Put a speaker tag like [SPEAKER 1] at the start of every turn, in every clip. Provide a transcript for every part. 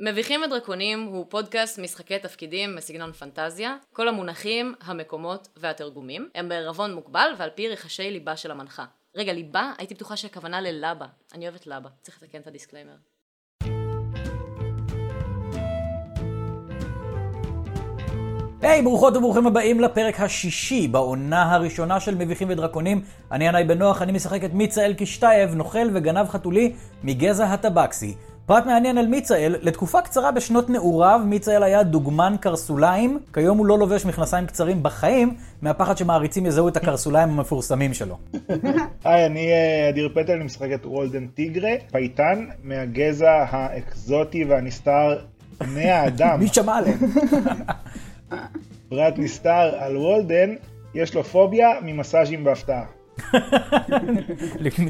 [SPEAKER 1] מביכים ודרקונים הוא פודקאסט משחקי תפקידים בסגנון פנטזיה. כל המונחים, המקומות והתרגומים הם בערבון מוגבל ועל פי רחשי ליבה של המנחה. רגע, ליבה? הייתי בטוחה שהכוונה ללבה. אני אוהבת לבה. צריך לתקן את הדיסקליימר.
[SPEAKER 2] היי, hey, ברוכות וברוכים הבאים לפרק השישי בעונה הראשונה של מביכים ודרקונים. אני ינאי בן נוח, אני משחק את מיצה אלקישטייב, נוכל וגנב חתולי מגזע הטבקסי. פרט מעניין על מיצאל, לתקופה קצרה בשנות נעוריו, מיצאל היה דוגמן קרסוליים, כיום הוא לא לובש מכנסיים קצרים בחיים, מהפחד שמעריצים יזהו את הקרסוליים המפורסמים שלו.
[SPEAKER 3] היי, אני אה, אדיר פטל, אני משחק את וולדן טיגרה, פייטן, מהגזע האקזוטי והנסתר בני האדם.
[SPEAKER 2] מי שמע עליהם?
[SPEAKER 3] פרט נסתר על וולדן, יש לו פוביה ממסאז'ים בהפתעה.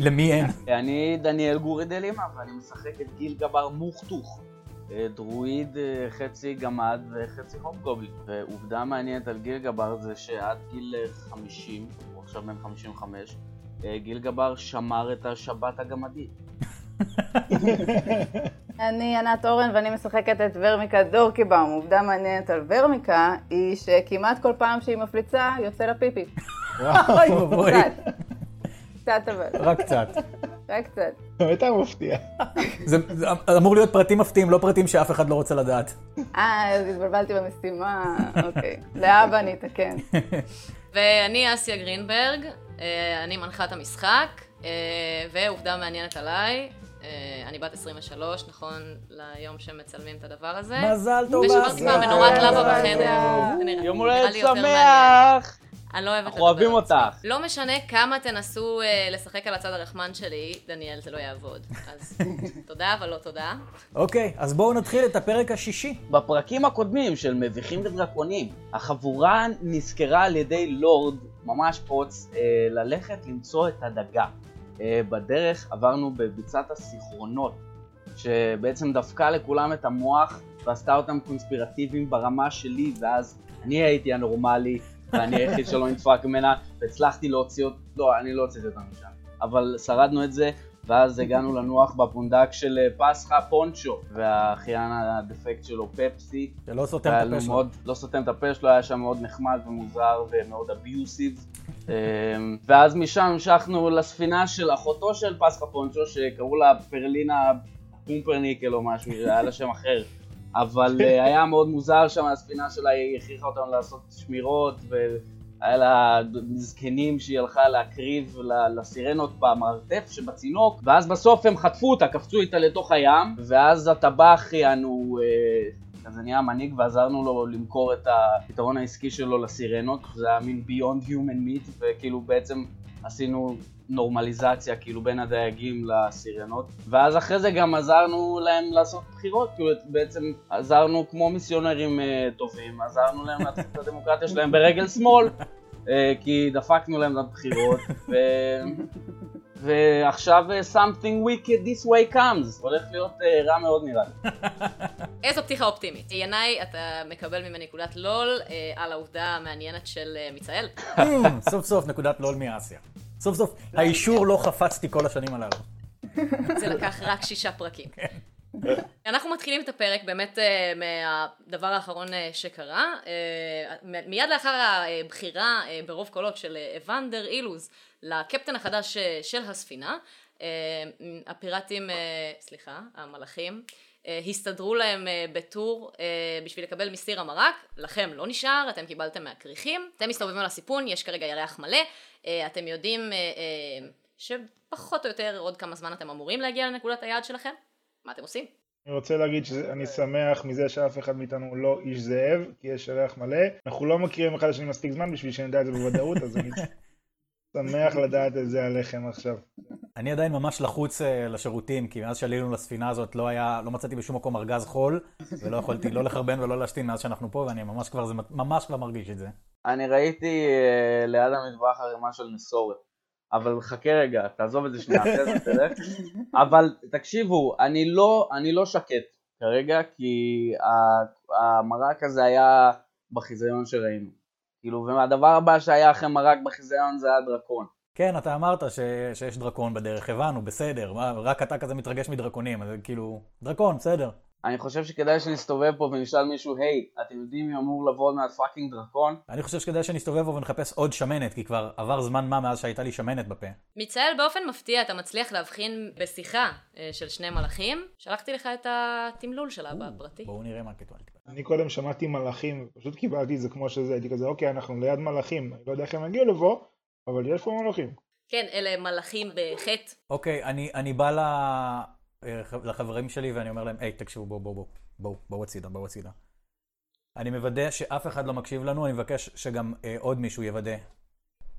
[SPEAKER 2] למי אין?
[SPEAKER 4] אני דניאל גורי דלימה, ואני משחק את גיל גבר מוכתוך. אה, דרואיד אה, חצי גמד וחצי הומגובלין. ועובדה מעניינת על גיל גבר זה שעד גיל אה, 50, הוא עכשיו בן 55, אה, גיל גבר שמר את השבת הגמדית.
[SPEAKER 5] אני ענת אורן ואני משחקת את ורמיקה דורקיבאום. עובדה מעניינת על ורמיקה היא שכמעט כל פעם שהיא מפליצה יוצא לה פיפי.
[SPEAKER 2] אוי ואבוי.
[SPEAKER 5] קצת. קצת אבל,
[SPEAKER 2] רק קצת.
[SPEAKER 5] רק קצת.
[SPEAKER 3] באמת היה מפתיע.
[SPEAKER 2] זה זה אמור להיות פרטים מפתיעים, לא פרטים שאף אחד לא רוצה לדעת.
[SPEAKER 5] אה, אז התבלבלתי במשימה, אוקיי. להבא אני אתקן.
[SPEAKER 1] ואני אסיה גרינברג, אה, אני מנחת המשחק, אה, ועובדה מעניינת עליי, אה, אני בת 23, נכון ליום שמצלמים את הדבר הזה.
[SPEAKER 2] מזל טוב,
[SPEAKER 1] ושברתי
[SPEAKER 2] אסיה.
[SPEAKER 1] מהמנורת לבה
[SPEAKER 3] מזל
[SPEAKER 1] בחדר.
[SPEAKER 3] טוב.
[SPEAKER 1] זה נראה-
[SPEAKER 4] יום
[SPEAKER 1] נראה
[SPEAKER 4] הולדת
[SPEAKER 1] לי יותר מעניין.
[SPEAKER 4] שמח!
[SPEAKER 1] אני לא אוהבת לדבר.
[SPEAKER 4] אנחנו אוהבים
[SPEAKER 1] על עצמי.
[SPEAKER 4] אותך.
[SPEAKER 1] לא משנה כמה תנסו אה, לשחק על הצד הרחמן שלי, דניאל, זה לא יעבוד. אז תודה, אבל לא תודה.
[SPEAKER 2] אוקיי, אז בואו נתחיל את הפרק השישי.
[SPEAKER 4] בפרקים הקודמים של מביכים ודרקונים, החבורה נזכרה על ידי לורד, ממש פוץ, אה, ללכת למצוא את הדגה. אה, בדרך עברנו בביצת הסיכרונות, שבעצם דפקה לכולם את המוח ועשתה אותם קונספירטיביים ברמה שלי, ואז אני הייתי הנורמלי, ואני היחיד שלא נדפק ממנה, והצלחתי להוציא אותה, לא, אני לא הוצאתי אותה משם, אבל שרדנו את זה, ואז הגענו לנוח בפונדק של אה, פסחא פונצ'ו, והאחיין הדפקט שלו פפסי,
[SPEAKER 2] שלא סותם
[SPEAKER 4] היה
[SPEAKER 2] את
[SPEAKER 4] לו
[SPEAKER 2] הפה שלו.
[SPEAKER 4] מאוד, לא סותם את הפה שלו, היה שם מאוד נחמד ומוזר ומאוד אביוסיב. אמ, ואז משם המשכנו לספינה של אחותו של פסחה פונצ'ו, שקראו לה פרלינה פומפרניקל או משהו, היה לה שם אחר. אבל אה, היה מאוד מוזר שם, הספינה שלה, היא הכריחה אותנו לעשות שמירות, והיה לה זקנים שהיא הלכה להקריב ל- לסירנות במרתף שבצינוק, ואז בסוף הם חטפו אותה, קפצו איתה לתוך הים, ואז הטבח, יענו, אה, אז זה נהיה מנהיג ועזרנו לו למכור את הפתרון העסקי שלו לסירנות, זה היה מין ביונד Human Meat, וכאילו בעצם עשינו נורמליזציה כאילו בין הדייגים לסירנות, ואז אחרי זה גם עזרנו להם לעשות בחירות, כאילו בעצם עזרנו כמו מיסיונרים אה, טובים, עזרנו להם לעשות את הדמוקרטיה שלהם ברגל שמאל, אה, כי דפקנו להם לבחירות, ו... ועכשיו אה, something wicked this way comes, הולך להיות אה, רע מאוד נראה לי.
[SPEAKER 1] איזו פתיחה אופטימית. ינאי, אתה מקבל ממני נקודת לול אה, על העובדה המעניינת של אה, מיצאל.
[SPEAKER 2] Mm, סוף סוף נקודת לול מאסיה. סוף סוף האישור לא חפצתי כל השנים הללו.
[SPEAKER 1] זה לקח רק שישה פרקים. אנחנו מתחילים את הפרק באמת אה, מהדבר האחרון אה, שקרה. אה, מ- מיד לאחר הבחירה אה, ברוב קולות של אה, אבנדר אילוז לקפטן החדש אה, של הספינה, אה, הפיראטים, אה, סליחה, המלאכים, אה, הסתדרו להם אה, בטור אה, בשביל לקבל מסיר המרק, לכם לא נשאר, אתם קיבלתם מהכריכים, אתם מסתובבים על הסיפון, יש כרגע ירח מלא, אה, אתם יודעים אה, אה, שפחות או יותר עוד כמה זמן אתם אמורים להגיע לנקודת היעד שלכם, מה אתם עושים?
[SPEAKER 3] אני רוצה להגיד שאני שמח מזה שאף אחד מאיתנו הוא לא איש זאב, כי יש ירח מלא. אנחנו לא מכירים אחד השני מספיק זמן בשביל שנדע את זה בוודאות, אז אני שמח לדעת את זה עליכם עכשיו.
[SPEAKER 2] אני עדיין ממש לחוץ אה, לשירותים, כי מאז שעלינו לספינה הזאת לא היה, לא מצאתי בשום מקום ארגז חול, ולא יכולתי לא לחרבן ולא להשתין מאז שאנחנו פה, ואני ממש כבר, זה ממש כבר מרגיש את זה.
[SPEAKER 4] אני ראיתי אה, ליד המטבח ערימה של נסורת. אבל חכה רגע, תעזוב את זה שנייה, אחרי זה תלך. אבל תקשיבו, אני לא, אני לא שקט כרגע, כי ה- המרק הזה היה בחיזיון שראינו. כאילו, והדבר הבא שהיה אחרי מרק בחיזיון זה היה דרקון.
[SPEAKER 2] כן, אתה אמרת ש... שיש דרקון בדרך, הבנו, בסדר, מה, רק אתה כזה מתרגש מדרקונים, אז זה כאילו, דרקון, בסדר.
[SPEAKER 4] אני חושב שכדאי שנסתובב פה ונשאל מישהו, היי, אתם יודעים מי אמור לבוא מהפאקינג דרקון?
[SPEAKER 2] אני חושב שכדאי שנסתובב פה ונחפש עוד שמנת, כי כבר עבר זמן מה מאז שהייתה לי שמנת בפה.
[SPEAKER 1] מצהל באופן מפתיע אתה מצליח להבחין בשיחה אה, של שני מלאכים. שלחתי לך את התמלול שלה בפרטי.
[SPEAKER 2] בואו נראה מה כתוב על תקווה.
[SPEAKER 3] אני קודם שמעתי מלאכים, פשוט קיבלתי את זה כמו שזה, הייתי כזה, אוקיי, אנחנו ליד מלאכים, אני לא יודע איך הם יגיעו לפה, אבל יש פה מלאכים.
[SPEAKER 1] כן, אלה מלאכים בחטא.
[SPEAKER 2] אוקיי, אני, אני בא ל- אה, ח- לחברים שלי ואני אומר להם, היי, תקשיבו, בואו, בואו, בואו, בואו, בואו הצידה, בואו הצידה. אני מוודא שאף אחד לא מקשיב לנו, אני מבקש שגם אה, עוד מישהו יוודא.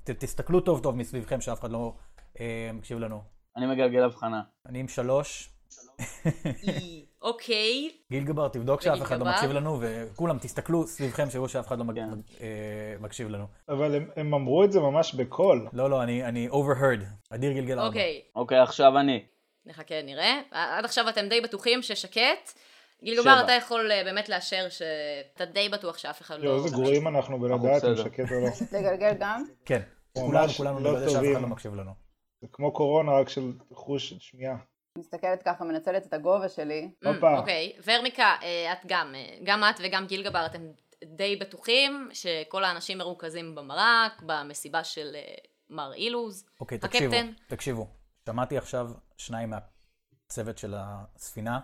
[SPEAKER 2] ת, תסתכלו טוב טוב מסביבכם שאף אחד לא אה, מקשיב לנו.
[SPEAKER 4] אני מגלגל הבחנה.
[SPEAKER 2] אני עם שלוש.
[SPEAKER 1] אי, אוקיי,
[SPEAKER 2] גילגבר, תבדוק שאף אחד לא
[SPEAKER 1] וגילגבר?
[SPEAKER 2] מקשיב לנו, וכולם, תסתכלו סביבכם, שיראו שאף אחד לא מג-
[SPEAKER 4] כן.
[SPEAKER 2] אה, מקשיב לנו.
[SPEAKER 3] אבל הם, הם אמרו את זה ממש בקול.
[SPEAKER 2] לא, לא, אני, אני overheard. אדיר גלגל ארבע.
[SPEAKER 1] אוקיי.
[SPEAKER 4] אוקיי, עכשיו אני.
[SPEAKER 1] נחכה, נראה. עד עכשיו אתם די בטוחים ששקט. גילגובר,
[SPEAKER 4] שבע.
[SPEAKER 1] אתה יכול אה, באמת לאשר שאתה די בטוח שאף אחד
[SPEAKER 3] לא,
[SPEAKER 1] לא...
[SPEAKER 3] איזה גרועים אנחנו בלדעת אם
[SPEAKER 4] בסדר.
[SPEAKER 3] שקט או לא.
[SPEAKER 5] לגלגל גם?
[SPEAKER 2] כן.
[SPEAKER 3] ממש
[SPEAKER 2] כולנו, כולנו
[SPEAKER 3] לא
[SPEAKER 2] נוודא שאף אחד
[SPEAKER 3] טובים.
[SPEAKER 2] לא מקשיב לנו.
[SPEAKER 3] זה כמו קורונה, רק של חוש שמיעה.
[SPEAKER 5] מסתכלת ככה, מנצלת את הגובה שלי.
[SPEAKER 1] Mm,
[SPEAKER 3] הופה.
[SPEAKER 1] אוקיי, ורמיקה, אה, את גם, אה, גם את וגם גילגבר, אתם די בטוחים שכל האנשים מרוכזים במרק, במסיבה של אה, מר אילוז.
[SPEAKER 2] אוקיי,
[SPEAKER 1] הקפטן.
[SPEAKER 2] תקשיבו, תקשיבו. שמעתי עכשיו שניים מהצוות של הספינה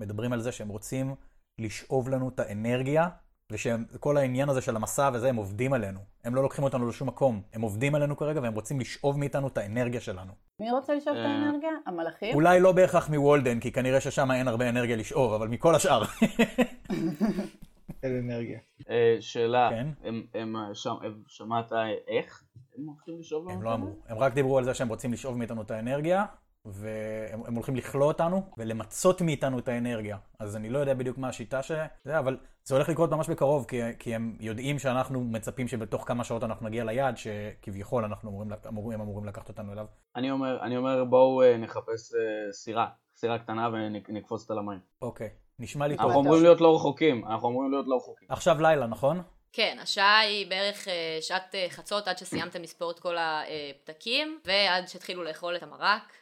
[SPEAKER 2] מדברים על זה שהם רוצים לשאוב לנו את האנרגיה, ושכל העניין הזה של המסע וזה, הם עובדים עלינו. הם לא לוקחים אותנו לשום מקום. הם עובדים עלינו כרגע והם רוצים לשאוב מאיתנו את האנרגיה שלנו.
[SPEAKER 5] מי רוצה לשאוף את
[SPEAKER 4] אה.
[SPEAKER 5] האנרגיה? המלאכים?
[SPEAKER 2] אולי לא בהכרח מוולדן, כי כנראה ששם אין הרבה אנרגיה לשאוב, אבל מכל השאר.
[SPEAKER 3] אין אנרגיה.
[SPEAKER 4] אה, שאלה,
[SPEAKER 2] כן.
[SPEAKER 4] הם- הם, אה, שם- הם- שמעת איך הם הולכים לשאול לנו?
[SPEAKER 2] הם
[SPEAKER 4] את
[SPEAKER 2] לא
[SPEAKER 4] זה?
[SPEAKER 2] אמרו. הם רק דיברו על זה שהם רוצים לשאוב מאיתנו את האנרגיה, והם הם הולכים לכלוא אותנו ולמצות מאיתנו את האנרגיה. אז אני לא יודע בדיוק מה השיטה ש... זה, אבל זה הולך לקרות ממש בקרוב, כי, כי הם יודעים שאנחנו מצפים שבתוך כמה שעות אנחנו נגיע ליעד, שכביכול אנחנו אמורים, לק- אמור, הם אמורים לקחת אותנו אליו.
[SPEAKER 4] אני אומר, אני אומר בואו אה, נחפש אה, סירה, סירה קטנה ונקפוץ אותה למים.
[SPEAKER 2] אוקיי, נשמע לי טוב.
[SPEAKER 4] אנחנו אמורים להיות לא רחוקים, אנחנו אמורים להיות לא רחוקים.
[SPEAKER 2] עכשיו לילה, נכון?
[SPEAKER 1] כן, השעה היא בערך אה, שעת אה, חצות, עד שסיימתם לספור את כל הפתקים, ועד שהתחילו לאכול את המרק.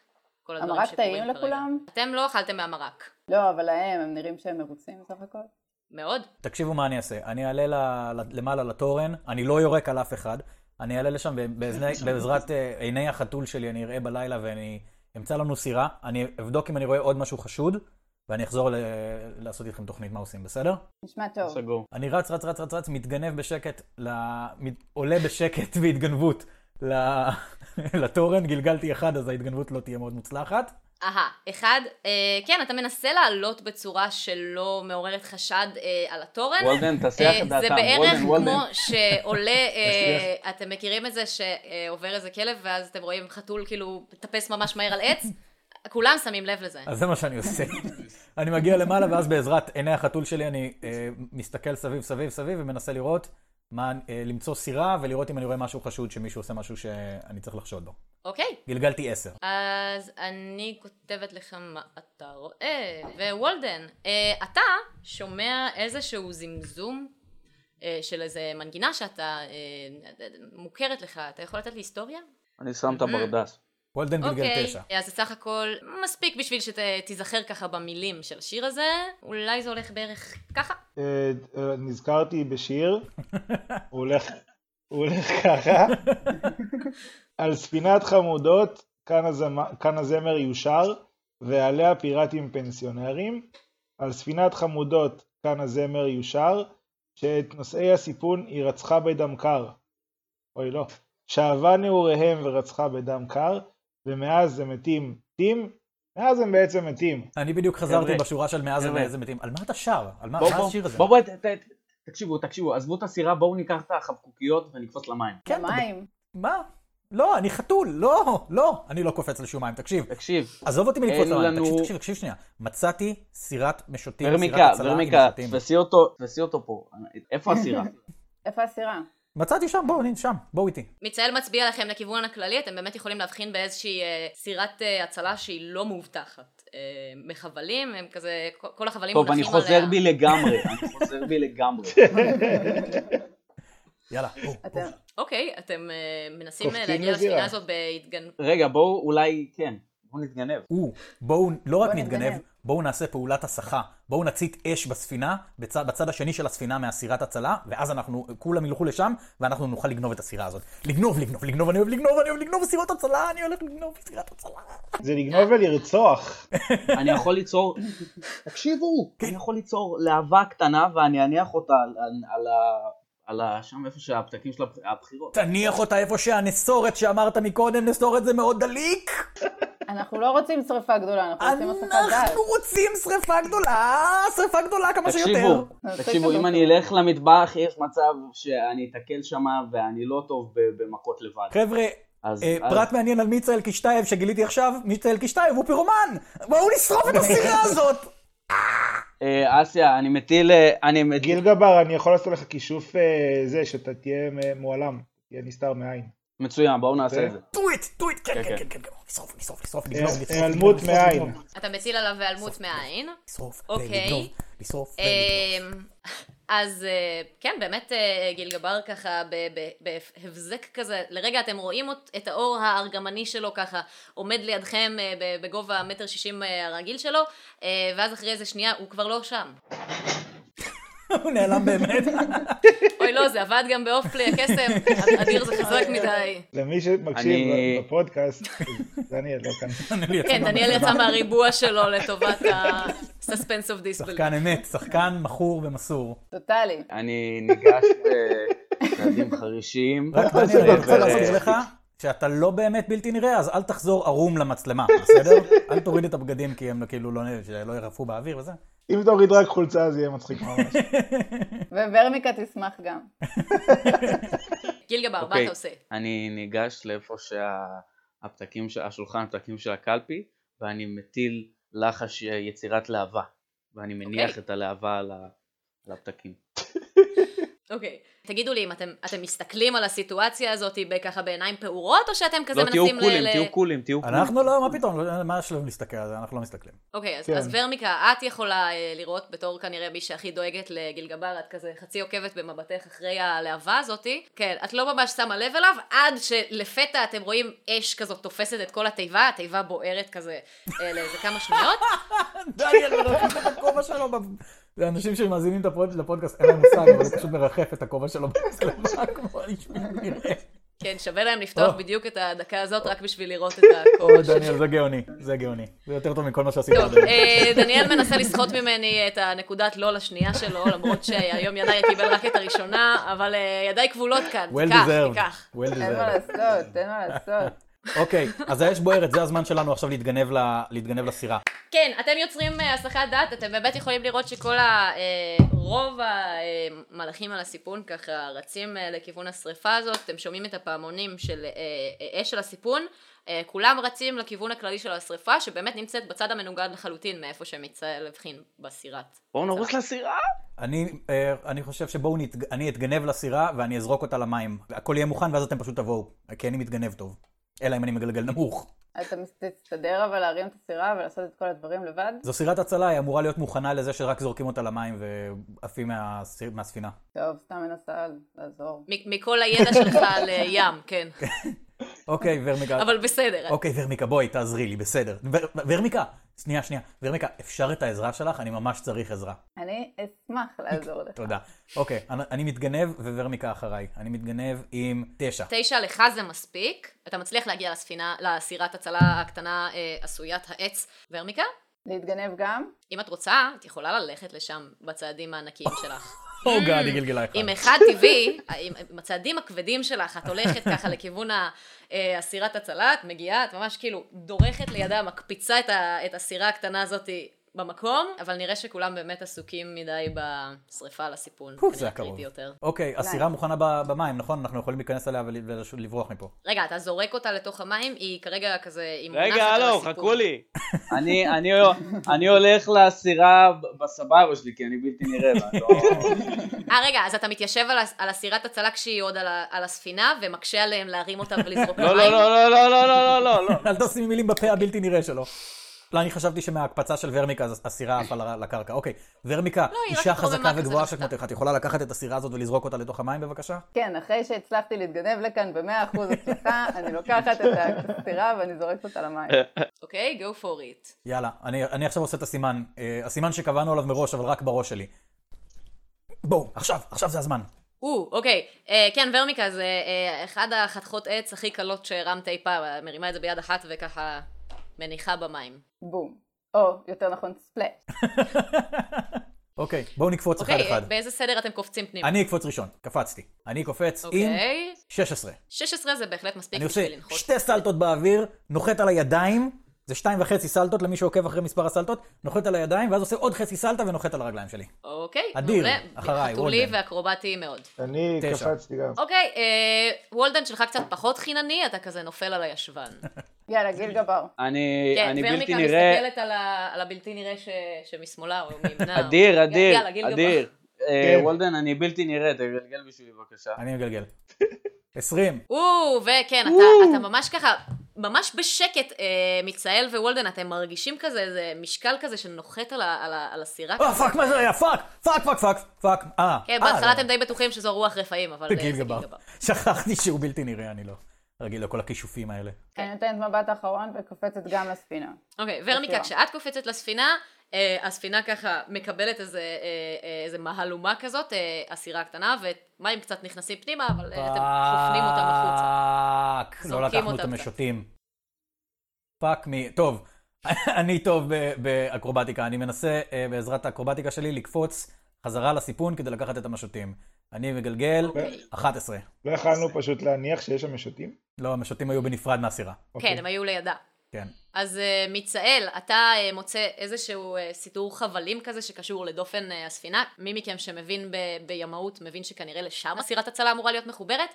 [SPEAKER 1] כל הדברים
[SPEAKER 5] המרק
[SPEAKER 1] שקורים
[SPEAKER 5] טעים
[SPEAKER 1] כרגע.
[SPEAKER 5] לכולם?
[SPEAKER 1] אתם לא אכלתם מהמרק.
[SPEAKER 5] לא, אבל להם, הם נראים שהם מרוצים בסך הכל.
[SPEAKER 1] מאוד.
[SPEAKER 2] תקשיבו מה אני אעשה, אני אעלה ל- ל- למעלה לתורן, אני לא יורק על אף אחד, אני אעלה לשם ובאזני- בעזרת אה, עיני החתול שלי אני אראה בלילה ואני אמצא לנו סירה, אני אבדוק אם אני רואה עוד משהו חשוד, ואני אחזור ל- לעשות איתכם תוכנית מה עושים, בסדר?
[SPEAKER 5] נשמע טוב.
[SPEAKER 4] סגור.
[SPEAKER 2] אני רץ, רץ, רץ, רץ, רץ, מתגנב בשקט, ל... מת... עולה בשקט בהתגנבות ל... לתורן, גלגלתי אחד אז ההתגנבות לא תהיה מאוד מוצלחת.
[SPEAKER 1] אהה, אחד, אה, כן, אתה מנסה לעלות בצורה שלא מעוררת חשד אה, על התורן.
[SPEAKER 4] וולדן, תסיח
[SPEAKER 1] אה,
[SPEAKER 4] את דעתם.
[SPEAKER 1] זה בערך
[SPEAKER 4] וולדן,
[SPEAKER 1] כמו
[SPEAKER 4] וולדן.
[SPEAKER 1] שעולה, אה, אתם מכירים את זה שעובר איזה כלב ואז אתם רואים חתול כאילו מטפס ממש מהר על עץ? כולם שמים לב לזה.
[SPEAKER 2] אז זה מה שאני עושה. אני מגיע למעלה, ואז בעזרת עיני החתול שלי אני אה, מסתכל סביב, סביב, סביב, ומנסה לראות, מה, אה, למצוא סירה, ולראות אם אני רואה משהו חשוד, שמישהו עושה משהו שאני צריך לחשוד בו.
[SPEAKER 1] אוקיי,
[SPEAKER 2] גלגלתי עשר.
[SPEAKER 1] אז אני כותבת לך מה אתה רואה. ווולדן, אה, אתה שומע איזשהו זמזום אה, של איזה מנגינה שאתה, אה, מוכרת לך, אתה יכול לתת לי היסטוריה?
[SPEAKER 4] אני שם
[SPEAKER 1] אה,
[SPEAKER 4] את הברדס.
[SPEAKER 2] אה, וולדן גלגל תשע.
[SPEAKER 1] אוקיי, אז זה סך הכל מספיק בשביל שתיזכר ככה במילים של השיר הזה, אולי זה הולך בערך ככה.
[SPEAKER 3] אה, אה, נזכרתי בשיר, הוא הולך, הוא הולך ככה, על ספינת חמודות, כאן, הזמ- כאן הזמר יושר, ועליה פיראטים פנסיונרים, על ספינת חמודות, כאן הזמר יושר, שאת נושאי הסיפון היא רצחה בדם קר. אוי לא. שאבה נעוריהם ורצחה בדם קר, ומאז הם מתים מתים, מאז הם בעצם מתים.
[SPEAKER 2] אני בדיוק חזרתי
[SPEAKER 4] חבר'ה,
[SPEAKER 2] בשורה של מאז
[SPEAKER 4] חבר'ה.
[SPEAKER 2] ומאיזה מתים. על מה אתה שר? על מה
[SPEAKER 4] בואו,
[SPEAKER 2] מה
[SPEAKER 4] בואו,
[SPEAKER 2] השיר הזה?
[SPEAKER 4] בואו, בואו, ת- ת- תקשיבו, תקשיבו, עזבו את הסירה, בואו ניקח את החבקוקיות ונקפוץ למים.
[SPEAKER 2] כן, אתה-
[SPEAKER 5] מים.
[SPEAKER 2] מה? לא, אני חתול, לא, לא, אני לא קופץ לשום מים, תקשיב.
[SPEAKER 4] תקשיב,
[SPEAKER 2] עזוב אותי מלקפוץ
[SPEAKER 4] אין
[SPEAKER 2] למים,
[SPEAKER 4] לנו-
[SPEAKER 2] תקשיב, תקשיב, תקשיב שנייה. מצאתי סירת משוטים,
[SPEAKER 4] ורמיקה,
[SPEAKER 2] סירת הצלה עם
[SPEAKER 4] ורמיקה,
[SPEAKER 2] משוטים.
[SPEAKER 4] תפסי אותו, תפסי אותו פה. איפה הסירה?
[SPEAKER 5] איפה הסירה?
[SPEAKER 2] מצאתי שם, בואו, הנה, שם, בואו איתי.
[SPEAKER 1] מצהל מצביע לכם לכיוון הכללי, אתם באמת יכולים להבחין באיזושהי אה, סירת אה, הצלה שהיא לא מאובטחת. אה, מחבלים, הם כזה, כל- כל החבלים
[SPEAKER 4] טוב, אני
[SPEAKER 1] מונחים
[SPEAKER 4] חוזר
[SPEAKER 1] עליה.
[SPEAKER 4] בי לגמרי, אני חוזר בי לגמרי.
[SPEAKER 2] יאללה, בואו.
[SPEAKER 5] אתם...
[SPEAKER 1] אוקיי, אתם אה, מנסים אה,
[SPEAKER 3] קופצים
[SPEAKER 1] להגיע
[SPEAKER 3] לזירה.
[SPEAKER 1] לספינה הזאת בהתגנ...
[SPEAKER 4] רגע, בואו אולי, כן, בואו נתגנב.
[SPEAKER 2] או, בואו לא רק
[SPEAKER 5] בואו
[SPEAKER 2] נתגנב,
[SPEAKER 5] נתגנב.
[SPEAKER 2] בואו נעשה פעולת הסחה. בואו נצית אש בספינה, בצד, בצד השני של הספינה מהסירת הצלה, ואז אנחנו, כולם ילכו לשם, ואנחנו נוכל לגנוב את הסירה הזאת. לגנוב, לגנוב, לגנוב, אני אוהב לגנוב, אני אוהב לגנוב סירות הצלה, אני הולך לגנוב סירת הצלה.
[SPEAKER 3] זה לגנוב ולרצוח.
[SPEAKER 4] אני יכול ליצור, תקשיבו, אני יכול ליצור להבה קטנה ואני אניח אותה על, על, על, ה- על ה... שם איפה שהפתקים של הבח- הבחירות.
[SPEAKER 2] תניח אותה איפה שהנסורת שאמרת מקודם, נסורת זה מאוד דליק.
[SPEAKER 5] אנחנו לא רוצים שריפה גדולה, אנחנו רוצים הספת דעת.
[SPEAKER 2] אנחנו רוצים שריפה גדולה, שריפה גדולה כמה שיותר.
[SPEAKER 4] תקשיבו, תקשיבו, אם אני אלך למטבח יש מצב שאני אתקל שמה ואני לא טוב ב- במכות לבד.
[SPEAKER 2] חבר'ה,
[SPEAKER 4] אז
[SPEAKER 2] כן. אה,
[SPEAKER 4] אז-
[SPEAKER 2] פרט מעניין על מיצה אלקישטייב שגיליתי עכשיו, מיצה אלקישטייב הוא פירומן! בואו נשרוף את הסירה הזאת!
[SPEAKER 4] אה, אסיה, אני מטיל... אה, אני מטיל-
[SPEAKER 3] גיל גבר, אני יכול לעשות לך כישוף אה, זה, שאתה תהיה מ- מועלם, תהיה נסתר מעין.
[SPEAKER 4] מצוין, בואו נעשה את זה.
[SPEAKER 2] do it, do it, כן,
[SPEAKER 4] כן,
[SPEAKER 2] כן,
[SPEAKER 4] כן.
[SPEAKER 2] כן, כן, כן, נשרוף, נשרוף, נשרף,
[SPEAKER 3] אה,
[SPEAKER 2] לגנוב, לשרוף,
[SPEAKER 3] היעלמות
[SPEAKER 2] לגנוב, לשרוף,
[SPEAKER 3] מעין.
[SPEAKER 2] לגנוב,
[SPEAKER 1] אתה מציל עליו היעלמות מהעין.
[SPEAKER 2] לשרוף,
[SPEAKER 1] אוקיי.
[SPEAKER 2] לגנוב, לשרוף, ולגנוב.
[SPEAKER 1] אמ, אז אה, כן, באמת אה, גיל גבר ככה ב- ב- בהבזק כזה, לרגע אתם רואים אות- את האור הארגמני שלו ככה עומד לידכם אה, ב- בגובה מטר שישים אה, הרגיל שלו, אה, ואז אחרי איזה שנייה הוא כבר לא שם.
[SPEAKER 2] הוא נעלם באמת.
[SPEAKER 1] אוי לא, זה עבד גם באוף פליי הקסם, אדיר זה חזק מדי.
[SPEAKER 3] למי שמקשיב
[SPEAKER 4] אני-
[SPEAKER 3] בפודקאסט, דניאל לא כאן.
[SPEAKER 1] כן, דניאל יצא מהריבוע שלו לטובת ה-suspense of disbelief.
[SPEAKER 2] שחקן אמת, שחקן מכור ומסור.
[SPEAKER 5] טוטאלי.
[SPEAKER 4] אני ניגש בצעדים חרישיים.
[SPEAKER 2] רק
[SPEAKER 3] מה
[SPEAKER 2] דניאל,
[SPEAKER 3] זה
[SPEAKER 2] אני רוצה
[SPEAKER 3] דבר?
[SPEAKER 2] לעשות לך שאתה לא באמת בלתי נראה, אז אל תחזור ערום למצלמה, בסדר? אל תוריד את הבגדים כי הם כאילו לא נ- שלא ירחפו באוויר וזה.
[SPEAKER 3] אם תוריד רק חולצה זה יהיה מצחיק ממש.
[SPEAKER 5] וורמיקה תשמח גם.
[SPEAKER 1] גיל גבר, מה
[SPEAKER 4] אוקיי.
[SPEAKER 1] אתה עושה?
[SPEAKER 4] אני ניגש לאיפה שהפתקים, שה... השולחן הפתקים של הקלפי, ואני מטיל לחש אה, יצירת להבה, ואני מניח
[SPEAKER 1] אוקיי.
[SPEAKER 4] את הלהבה על, ה... על הפתקים.
[SPEAKER 1] אוקיי. תגידו לי אם אתם, אתם מסתכלים על הסיטואציה הזאת ב- ככה בעיניים פעורות, או שאתם כזה
[SPEAKER 4] לא, תהיו
[SPEAKER 1] מנסים
[SPEAKER 4] קולים,
[SPEAKER 1] ל...
[SPEAKER 4] תהיו קולים, תהיו קולים.
[SPEAKER 2] אנחנו לא, מה פתאום, לא- מה השלב להסתכל על זה, אנחנו לא מסתכלים.
[SPEAKER 1] אוקיי, אז,
[SPEAKER 3] כן.
[SPEAKER 1] אז ורמיקה, את יכולה אה, לראות בתור כנראה מי שהכי דואגת לגיל גבר, את כזה חצי עוקבת במבטך אחרי הלהבה הזאתי. כן, את לא ממש שמה לב אליו, עד שלפתע אתם רואים אש כזאת תופסת את כל התיבה, התיבה בוערת כזה אה, לאיזה כמה שניות.
[SPEAKER 2] דניאל מרחף את הכובע שלו. ב- לאנשים שמאזינים את הפוד- לפודקאסט, אין להם מושג, אבל הוא פשוט מרחף את הכובע שלו במצלמה, כמו האיש מנראה.
[SPEAKER 1] כן, שווה להם לפתוח
[SPEAKER 2] או.
[SPEAKER 1] בדיוק את הדקה הזאת רק בשביל לראות את הכובע של
[SPEAKER 2] דניאל, זה גאוני, זה גאוני. זה יותר טוב מכל מה שעשית
[SPEAKER 5] לא,
[SPEAKER 2] עד
[SPEAKER 1] טוב,
[SPEAKER 2] היום.
[SPEAKER 1] אה, דניאל מנסה לסחוט ממני את הנקודת לא לשנייה שלו, למרות שהיום ידיי קיבל רק את הראשונה, אבל אה, ידיי כבולות כאן,
[SPEAKER 2] Well
[SPEAKER 1] תיקח,
[SPEAKER 2] deserved,
[SPEAKER 1] תיקח.
[SPEAKER 2] well
[SPEAKER 5] אין מה
[SPEAKER 2] deserved.
[SPEAKER 5] לעשות, אין מה לעשות.
[SPEAKER 2] אוקיי, אז האש בוערת, זה הזמן שלנו עכשיו להתגנב ל- להתגנב לסירה.
[SPEAKER 1] כן, אתם יוצרים אה, הסחת דעת, אתם באמת יכולים לראות שכל ה... אה, רוב המלאכים על הסיפון ככה רצים אה, לכיוון השריפה הזאת, אתם שומעים את הפעמונים של אה, אה, אש של הסיפון, אה, כולם רצים לכיוון הכללי של השריפה, שבאמת נמצאת בצד המנוגד לחלוטין מאיפה שמצהל הבחין בסירת.
[SPEAKER 4] בואו נרוץ לסירה!
[SPEAKER 2] אני, אה, אני חושב שבואו נתג- אני אתגנב לסירה ואני אזרוק אותה למים. הכל יהיה מוכן ואז אתם פשוט תבואו, כי אני מתגנב טוב. אלא אם אני מגלגל נמוך.
[SPEAKER 5] אתה מס- תסתדר אבל להרים את הסירה ולעשות את כל הדברים לבד?
[SPEAKER 2] זו סירת הצלה, היא אמורה להיות מוכנה לזה שרק זורקים אותה למים ועפים מהסיר- מהספינה.
[SPEAKER 5] טוב, סתם מנסה לעזור.
[SPEAKER 1] מ- מכל הידע שלך על אה, ים, כן.
[SPEAKER 2] אוקיי, ורמיקה.
[SPEAKER 1] אבל בסדר.
[SPEAKER 2] אוקיי, ורמיקה, בואי, תעזרי לי, בסדר. ו- ורמיקה, שנייה, שנייה. ורמיקה, אפשר את העזרה שלך? אני ממש צריך עזרה.
[SPEAKER 5] אני אשמח לעזור לך.
[SPEAKER 2] תודה. אוקיי, אני- אני מתגנב וורמיקה אחריי. אני מתגנב עם תשע.
[SPEAKER 1] תשע לך זה מספיק, אתה מצליח להגיע לספינה, לסירת הצלה הקטנה אה, עשוית העץ ורמיקה.
[SPEAKER 5] להתגנב גם?
[SPEAKER 1] אם את רוצה, את יכולה ללכת לשם בצעדים הענקיים שלך.
[SPEAKER 2] או גאד, היא גלגלה אחד.
[SPEAKER 1] עם אחד טבעי, עם עם הצעדים הכבדים שלך, את הולכת ככה לכיוון ה- אה, הסירת הצלה, את מגיעה, את ממש כאילו דורכת לידה, מקפיצה את, ה, את הסירה הקטנה הזאת במקום, אבל נראה שכולם באמת עסוקים מדי בשריפה על הסיפון.
[SPEAKER 2] פוף,
[SPEAKER 1] זה
[SPEAKER 2] זה היה
[SPEAKER 1] הקריטי
[SPEAKER 2] קרוב.
[SPEAKER 1] יותר.
[SPEAKER 2] אוקיי, הסירה מוכנה ב- במים, נכון? אנחנו יכולים להיכנס אליה ול- ול- ולברוח מפה.
[SPEAKER 1] רגע, אתה זורק אותה לתוך המים, היא כרגע כזה, היא מונחת
[SPEAKER 6] רגע,
[SPEAKER 1] על
[SPEAKER 6] הלו,
[SPEAKER 1] הסיפון.
[SPEAKER 6] חכו לי.
[SPEAKER 4] אני, אני, אני הולך לסירה ב- בסבבה שלי, כי אני בלתי נראה. ואני לא...
[SPEAKER 1] אה, רגע, אז אתה מתיישב על, הס- על הסירת הצלה כשהיא עוד על, ה- על הספינה, ומקשה עליהם להרים אותה ולזרוק
[SPEAKER 6] לא,
[SPEAKER 1] למים?
[SPEAKER 6] לא, לא, לא, לא, לא, לא, לא, לא.
[SPEAKER 2] אל תשים מילים בפה הבלתי נראה שלו. לא, אני חשבתי שמההקפצה של ורמיקה אז הסירה עפה ל- לקרקע. אוקיי, ורמיקה,
[SPEAKER 1] לא, היא רק
[SPEAKER 2] אישה
[SPEAKER 1] התרוממה
[SPEAKER 2] חזקה
[SPEAKER 1] כזה
[SPEAKER 2] וגבוהה
[SPEAKER 1] נחתה.
[SPEAKER 2] שכמותך, את יכולה לקחת את הסירה הזאת ולזרוק אותה לתוך המים בבקשה?
[SPEAKER 5] כן, אחרי שהצלחתי להתגנב לכאן ב-100% הצלחה, אני לוקחת את הסטירה ואני זורקת אותה למים.
[SPEAKER 1] אוקיי, go for it.
[SPEAKER 2] יאללה, אני, אני עכשיו עושה את הסימן. אה, הסימן שקבענו עליו מראש, אבל רק בראש שלי. בואו, עכשיו, עכשיו זה הזמן.
[SPEAKER 1] או, אוקיי. אה, כן, ורמיקה זה אה, אחד החתכות עץ הכי קלות שהרמת אי פעם, מרימה את זה ביד אחת וככה מניחה במים.
[SPEAKER 5] בום. או, יותר נכון, ספלאט.
[SPEAKER 2] אוקיי, בואו נקפוץ אחד
[SPEAKER 1] אוקיי,
[SPEAKER 2] אחד.
[SPEAKER 1] אה, באיזה סדר אתם קופצים פנימה?
[SPEAKER 2] אני אקפוץ ראשון, קפצתי. אני קופץ עם
[SPEAKER 1] אוקיי.
[SPEAKER 2] 16.
[SPEAKER 1] 16 זה בהחלט מספיק
[SPEAKER 2] אני עושה
[SPEAKER 1] בשביל לנחות.
[SPEAKER 2] שתי סלטות באוויר, נוחת על הידיים, זה שתיים וחצי סלטות למי שעוקב אחרי מספר הסלטות, נוחת על הידיים, ואז עושה עוד חצי סלטה ונוחת על הרגליים שלי.
[SPEAKER 1] אוקיי,
[SPEAKER 2] אדיר,
[SPEAKER 1] מעולה.
[SPEAKER 2] אחריי,
[SPEAKER 1] חתולי
[SPEAKER 2] וולדן.
[SPEAKER 1] ואקרובטי מאוד.
[SPEAKER 3] אני
[SPEAKER 2] תשע.
[SPEAKER 3] קפצתי גם.
[SPEAKER 1] אוקיי, אה, וולדן שלך קצת פחות חינני, אתה כזה נופל על הישבן.
[SPEAKER 5] יאללה, גיל גבר.
[SPEAKER 4] אני,
[SPEAKER 1] כן,
[SPEAKER 4] אני בלתי
[SPEAKER 1] ורמיקה
[SPEAKER 4] נראה,
[SPEAKER 1] מסתכלת על ה- על הבלתי נראה ש- שמשמאלה או מימנה. או-
[SPEAKER 4] אדיר, אדיר,
[SPEAKER 1] יאללה, גיל גבאי.
[SPEAKER 4] אדיר. אה,
[SPEAKER 3] כן.
[SPEAKER 4] וולדן, אני בלתי נראה, תגלגל בשבילי בבקשה.
[SPEAKER 2] אני מגלגל. 20.
[SPEAKER 1] או, וכן, אתה, אתה ממש ככה, ממש בשקט, אה, מיצאל ווולדן, אתם מרגישים כזה, איזה משקל כזה שנוחת על, ה, על, ה, על הסירה.
[SPEAKER 2] אה, פאק, מה זה היה? פאק! פאק, פאק, פאק, פאק. אה,
[SPEAKER 1] כן,
[SPEAKER 2] אה,
[SPEAKER 1] בהתחלה
[SPEAKER 2] לא.
[SPEAKER 1] אתם די בטוחים שזו רוח רפאים, אבל אה, זה
[SPEAKER 2] גיל גבר. שכחתי שהוא בלתי נראה, אני לא. רגיל לכל הכישופים האלה.
[SPEAKER 5] אני נותנת מבט אחרון וקופצת גם לספינה.
[SPEAKER 1] אוקיי, ורמיקה,
[SPEAKER 5] בסדר.
[SPEAKER 1] כשאת קופצת לספינה, אה, הספינה ככה מקבלת איזה, אה, אה, איזה מהלומה כזאת, אה, הסירה הקטנה, ומים קצת נכנסים פנימה, אבל אה, אתם חופנים אותם החוצה.
[SPEAKER 2] פאק, לא
[SPEAKER 1] זורקים
[SPEAKER 2] לקחנו את
[SPEAKER 1] אותם
[SPEAKER 2] המשוטים. פאק מ... טוב, אני טוב ב- באקרובטיקה. אני מנסה אה, בעזרת האקרובטיקה שלי לקפוץ חזרה לסיפון כדי לקחת את המשוטים. אני מגלגל
[SPEAKER 1] אוקיי.
[SPEAKER 2] 11.
[SPEAKER 3] לא יכלנו פשוט להניח שיש שם משוטים?
[SPEAKER 5] כן,
[SPEAKER 2] לא, המשוטים היו בנפרד מהסירה.
[SPEAKER 3] אוקיי.
[SPEAKER 1] כן, הם היו לידה.
[SPEAKER 2] כן.
[SPEAKER 1] אז אה, מיצאל, אתה אה, מוצא איזשהו אה, סידור חבלים כזה שקשור לדופן אה, הספינה. מי מכם שמבין ב- בימאות מבין שכנראה לשם הסירת הצלה אמורה להיות מחוברת.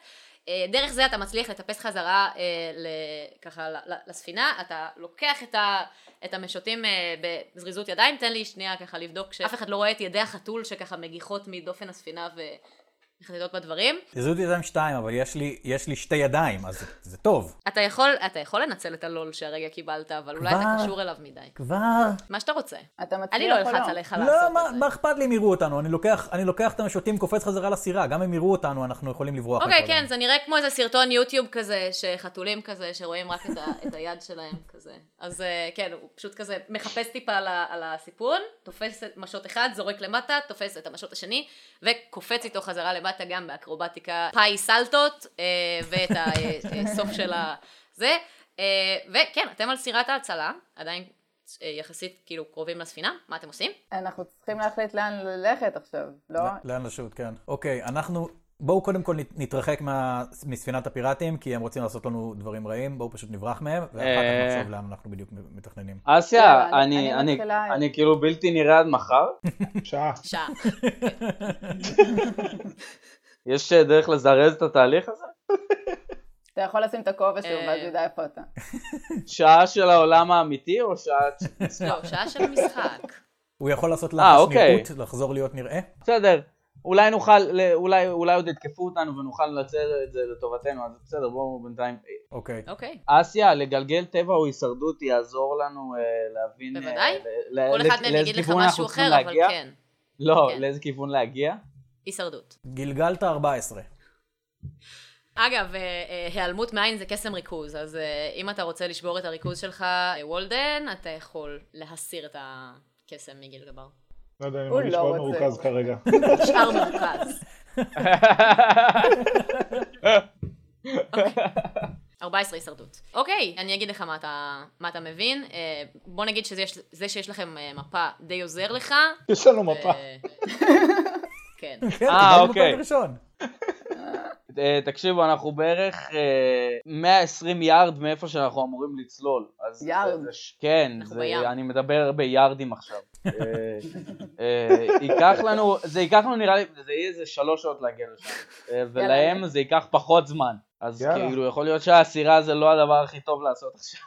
[SPEAKER 1] אה, דרך זה אתה מצליח לטפס חזרה אה, ל- ככה ל- ל- לספינה, אתה לוקח את, ה- את המשוטים אה, בזריזות ידיים, תן לי שנייה ככה לבדוק שאף אחד לא רואה את ידי החתול שככה מגיחות מדופן הספינה ומחטטות בדברים.
[SPEAKER 2] זהות ידיים שתיים, אבל יש לי- יש לי שתי ידיים, אז זה- זה טוב.
[SPEAKER 1] אתה יכול, אתה יכול לנצל את הלול שהרגע קיבלת, אבל אולי אתה
[SPEAKER 2] כבר?
[SPEAKER 1] קשור אליו מדי.
[SPEAKER 2] כבר?
[SPEAKER 1] מה שאתה רוצה.
[SPEAKER 5] אתה מצליח או
[SPEAKER 1] אני לא אלחץ עליך לעשות
[SPEAKER 2] לא, מה-
[SPEAKER 1] את זה.
[SPEAKER 2] מה אכפת לי אם יראו אותנו? אני לוקח- אני לוקח את המשוטים, קופץ חזרה לסירה. גם אם יראו אותנו, אנחנו יכולים לברוח.
[SPEAKER 1] אוקיי,
[SPEAKER 2] מפה.
[SPEAKER 1] כן, זה נראה כמו איזה סרטון יוטיוב כזה, שחתולים כזה, שרואים רק את, ה, את היד שלהם כזה. אז אה, כן, הוא פשוט כזה מחפש טיפה על, ה, על הסיפון, תופס את משות אחד, זורק למטה, תופס את המשות השני, וקופץ איתו חזרה למטה גם באקרובטיקה פאי סלטות, אה, ואת הסוף של ה... זה. אה, וכן, אתם על סירת ההצלה, עדיין אה, יחסית כאילו קרובים לספינה, מה אתם עושים?
[SPEAKER 5] אנחנו צריכים להחליט לאן ללכת עכשיו, לא?
[SPEAKER 2] לאן לשוט, כן. אוקיי, אנחנו... בואו קודם כל נת- נתרחק מה- מספינת הפיראטים, כי הם רוצים לעשות לנו דברים רעים, בואו פשוט נברח מהם, ואחר
[SPEAKER 4] אה.
[SPEAKER 2] כך נחשוב לאן אנחנו בדיוק מתכננים.
[SPEAKER 1] כן,
[SPEAKER 4] אסיה,
[SPEAKER 5] יאללה, אני-
[SPEAKER 4] אני-
[SPEAKER 5] אני
[SPEAKER 4] אני-
[SPEAKER 5] מתחילה.
[SPEAKER 4] אני כאילו בלתי נראה עד מחר?
[SPEAKER 3] שעה.
[SPEAKER 1] שעה.
[SPEAKER 4] יש אה, דרך לזרז את התהליך הזה?
[SPEAKER 5] אתה יכול לשים את הכובע שוב,
[SPEAKER 1] אה.
[SPEAKER 5] ואז ידע איפה אתה.
[SPEAKER 4] שעה של העולם האמיתי או שעה...
[SPEAKER 1] לא, שעה של משחק.
[SPEAKER 2] הוא יכול לעשות
[SPEAKER 4] אה,
[SPEAKER 2] לחש
[SPEAKER 4] אוקיי.
[SPEAKER 2] נראות, לחזור להיות נראה.
[SPEAKER 4] בסדר, אולי נוכל, ל- אולי אולי עוד יתקפו אותנו ונוכל לנצל את זה לטובתנו, אז בסדר, בואו בינתיים.
[SPEAKER 2] אוקיי.
[SPEAKER 1] אוקיי.
[SPEAKER 4] אסיה, לגלגל טבע או הישרדות יעזור לנו אה, להבין... אה,
[SPEAKER 1] בוודאי.
[SPEAKER 4] ל- ל-
[SPEAKER 1] כל
[SPEAKER 4] ל-
[SPEAKER 1] אחד מהם
[SPEAKER 4] לאיזה
[SPEAKER 1] יגיד לך
[SPEAKER 4] כיוון
[SPEAKER 1] משהו
[SPEAKER 4] אנחנו צריכים
[SPEAKER 1] אחר, אבל
[SPEAKER 4] להגיע.
[SPEAKER 1] כן.
[SPEAKER 4] לא,
[SPEAKER 1] כן.
[SPEAKER 4] לאיזה כיוון להגיע?
[SPEAKER 1] הישרדות.
[SPEAKER 2] גלגלת
[SPEAKER 4] אה,
[SPEAKER 2] 14.
[SPEAKER 1] אגב, אה, אה, היעלמות מעין זה קסם ריכוז, אז אה, אם אתה רוצה לשבור את הריכוז שלך, אה, וולדן, אתה יכול להסיר את הקסם מגיל גבר.
[SPEAKER 3] לא יודע, אני
[SPEAKER 5] הוא
[SPEAKER 3] מרגיש
[SPEAKER 5] לא
[SPEAKER 3] מאוד
[SPEAKER 5] רוצה.
[SPEAKER 3] מרוכז כרגע.
[SPEAKER 1] נשאר מרוכז. 14 הישרדות. אוקיי, אני אגיד לך מה אתה, מה אתה מבין. אה, בוא נגיד שזה יש- זה שיש לכם אה, מפה די עוזר לך.
[SPEAKER 3] יש לנו מפה.
[SPEAKER 1] אה, כן.
[SPEAKER 2] כן,
[SPEAKER 4] אה,
[SPEAKER 2] קיבלנו
[SPEAKER 4] אוקיי.
[SPEAKER 2] פרק ראשון.
[SPEAKER 4] אה, תקשיבו, אנחנו בערך אה, 120 יארד מאיפה שאנחנו אמורים לצלול. אז
[SPEAKER 5] יארד.
[SPEAKER 4] זה- זה ש- כן,
[SPEAKER 1] אנחנו
[SPEAKER 4] זה-
[SPEAKER 1] בים.
[SPEAKER 4] אני מדבר ביארדים עכשיו. אה, אה, ייקח לנו, זה ייקח לנו נראה לי, זה יהיה איזה שלוש שעות להגיע לשם. אה, ולהם זה ייקח פחות זמן. אז
[SPEAKER 3] יאללה.
[SPEAKER 4] כאילו, יכול להיות שהסירה זה לא הדבר הכי טוב לעשות עכשיו.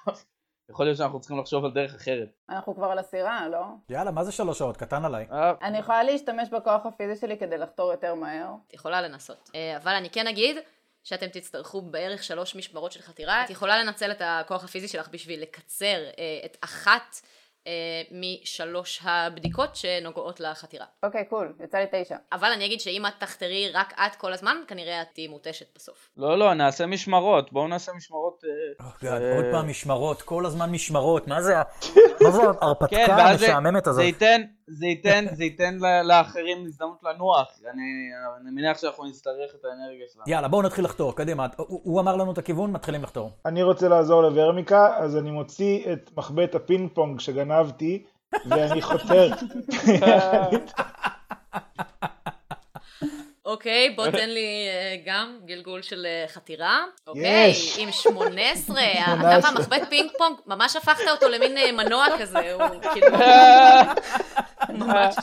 [SPEAKER 4] יכול להיות שאנחנו צריכים לחשוב על דרך אחרת.
[SPEAKER 5] אנחנו כבר על הסירה, לא?
[SPEAKER 2] יאללה, מה זה שלוש שעות? קטן עליי.
[SPEAKER 4] אה,
[SPEAKER 5] אני יכולה להשתמש בכוח הפיזי שלי כדי לחתור יותר מהר.
[SPEAKER 1] את יכולה לנסות. אה, אבל אני כן אגיד שאתם תצטרכו בערך שלוש משמרות של חתירה. את יכולה לנצל את הכוח הפיזי שלך בשביל לקצר אה, את אחת אה, משלוש הבדיקות שנוגעות לחתירה.
[SPEAKER 5] אוקיי, קול, יצא לי תשע.
[SPEAKER 1] אבל אני אגיד שאם את תחתרי רק את כל הזמן, כנראה את תהיי מותשת בסוף.
[SPEAKER 4] לא, לא, נעשה משמרות, בואו נעשה משמרות... אה, אה,
[SPEAKER 2] עוד פעם משמרות, כל הזמן משמרות, מה זה ה- מה זה
[SPEAKER 4] כן,
[SPEAKER 2] ההרפתקה
[SPEAKER 4] ואז זה-
[SPEAKER 2] המשעממת
[SPEAKER 4] זה
[SPEAKER 2] הזאת?
[SPEAKER 4] ייתן, זה ייתן, זה ייתן ל- לאחרים הזדמנות לנוח. אני אני מניח שאנחנו נצטרך את האנרגיה שלנו.
[SPEAKER 2] יאללה, בואו נתחיל לחתור, קדימה. הוא- הוא אמר לנו את הכיוון, מתחילים לחתור.
[SPEAKER 3] אני רוצה לעזור לוורמיקה, אז אני מוציא את מחבט הפינג פונג שגנבתי, ואני חותר.
[SPEAKER 1] אוקיי, בוא תן לי אה, גם גלגול של אה, חתירה. אוקיי,
[SPEAKER 3] יש.
[SPEAKER 1] עם 18, אתה
[SPEAKER 3] שמונה עשרה.
[SPEAKER 1] והמחבט פינג פונג, ממש הפכת אותו למין אה, מנוע כזה, הוא כאילו ממש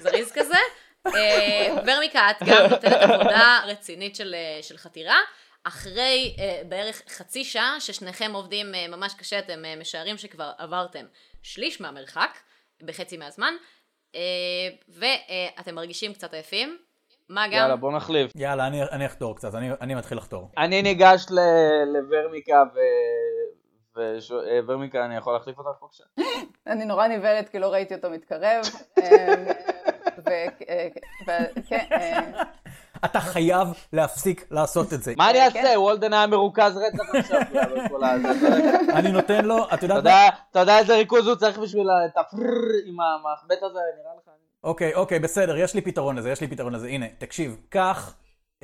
[SPEAKER 1] זריז כזה. אה, ורמיקה, את גם נותנת עבודה רצינית של, אה, של חתירה. אחרי אה, בערך חצי שעה ששניכם עובדים אה, ממש קשה, אתם אה, משערים שכבר עברתם שליש מהמרחק, בחצי מהזמן, אה, ואתם מרגישים קצת עייפים. מה גם?
[SPEAKER 4] יאללה, בואו נחליף.
[SPEAKER 2] יאללה, אני- אני אחתור קצת, אני- אני מתחיל לחתור.
[SPEAKER 4] אני ניגש ל- לוורמיקה ו... ושו- אה, ורמיקה, אני יכול להחליף אותך בבקשה?
[SPEAKER 5] אני נורא נבהלת כי לא ראיתי אותו מתקרב. אמ, ו- אה, ו- כן, אה,
[SPEAKER 2] אתה חייב להפסיק לעשות את זה.
[SPEAKER 4] מה אני
[SPEAKER 5] כן.
[SPEAKER 4] אעשה? וולדן היה מרוכז רצח עכשיו. אבל כל ה-
[SPEAKER 2] אני נותן לו, את
[SPEAKER 4] אתה
[SPEAKER 2] יודעת מה?
[SPEAKER 4] יודע- אתה יודע איזה ריכוז הוא צריך בשביל ה- את הפררר עם המחבט הזה, נראה לך?
[SPEAKER 2] אוקיי, אוקיי, בסדר, יש לי פתרון לזה, יש לי פתרון לזה. הנה, תקשיב, קח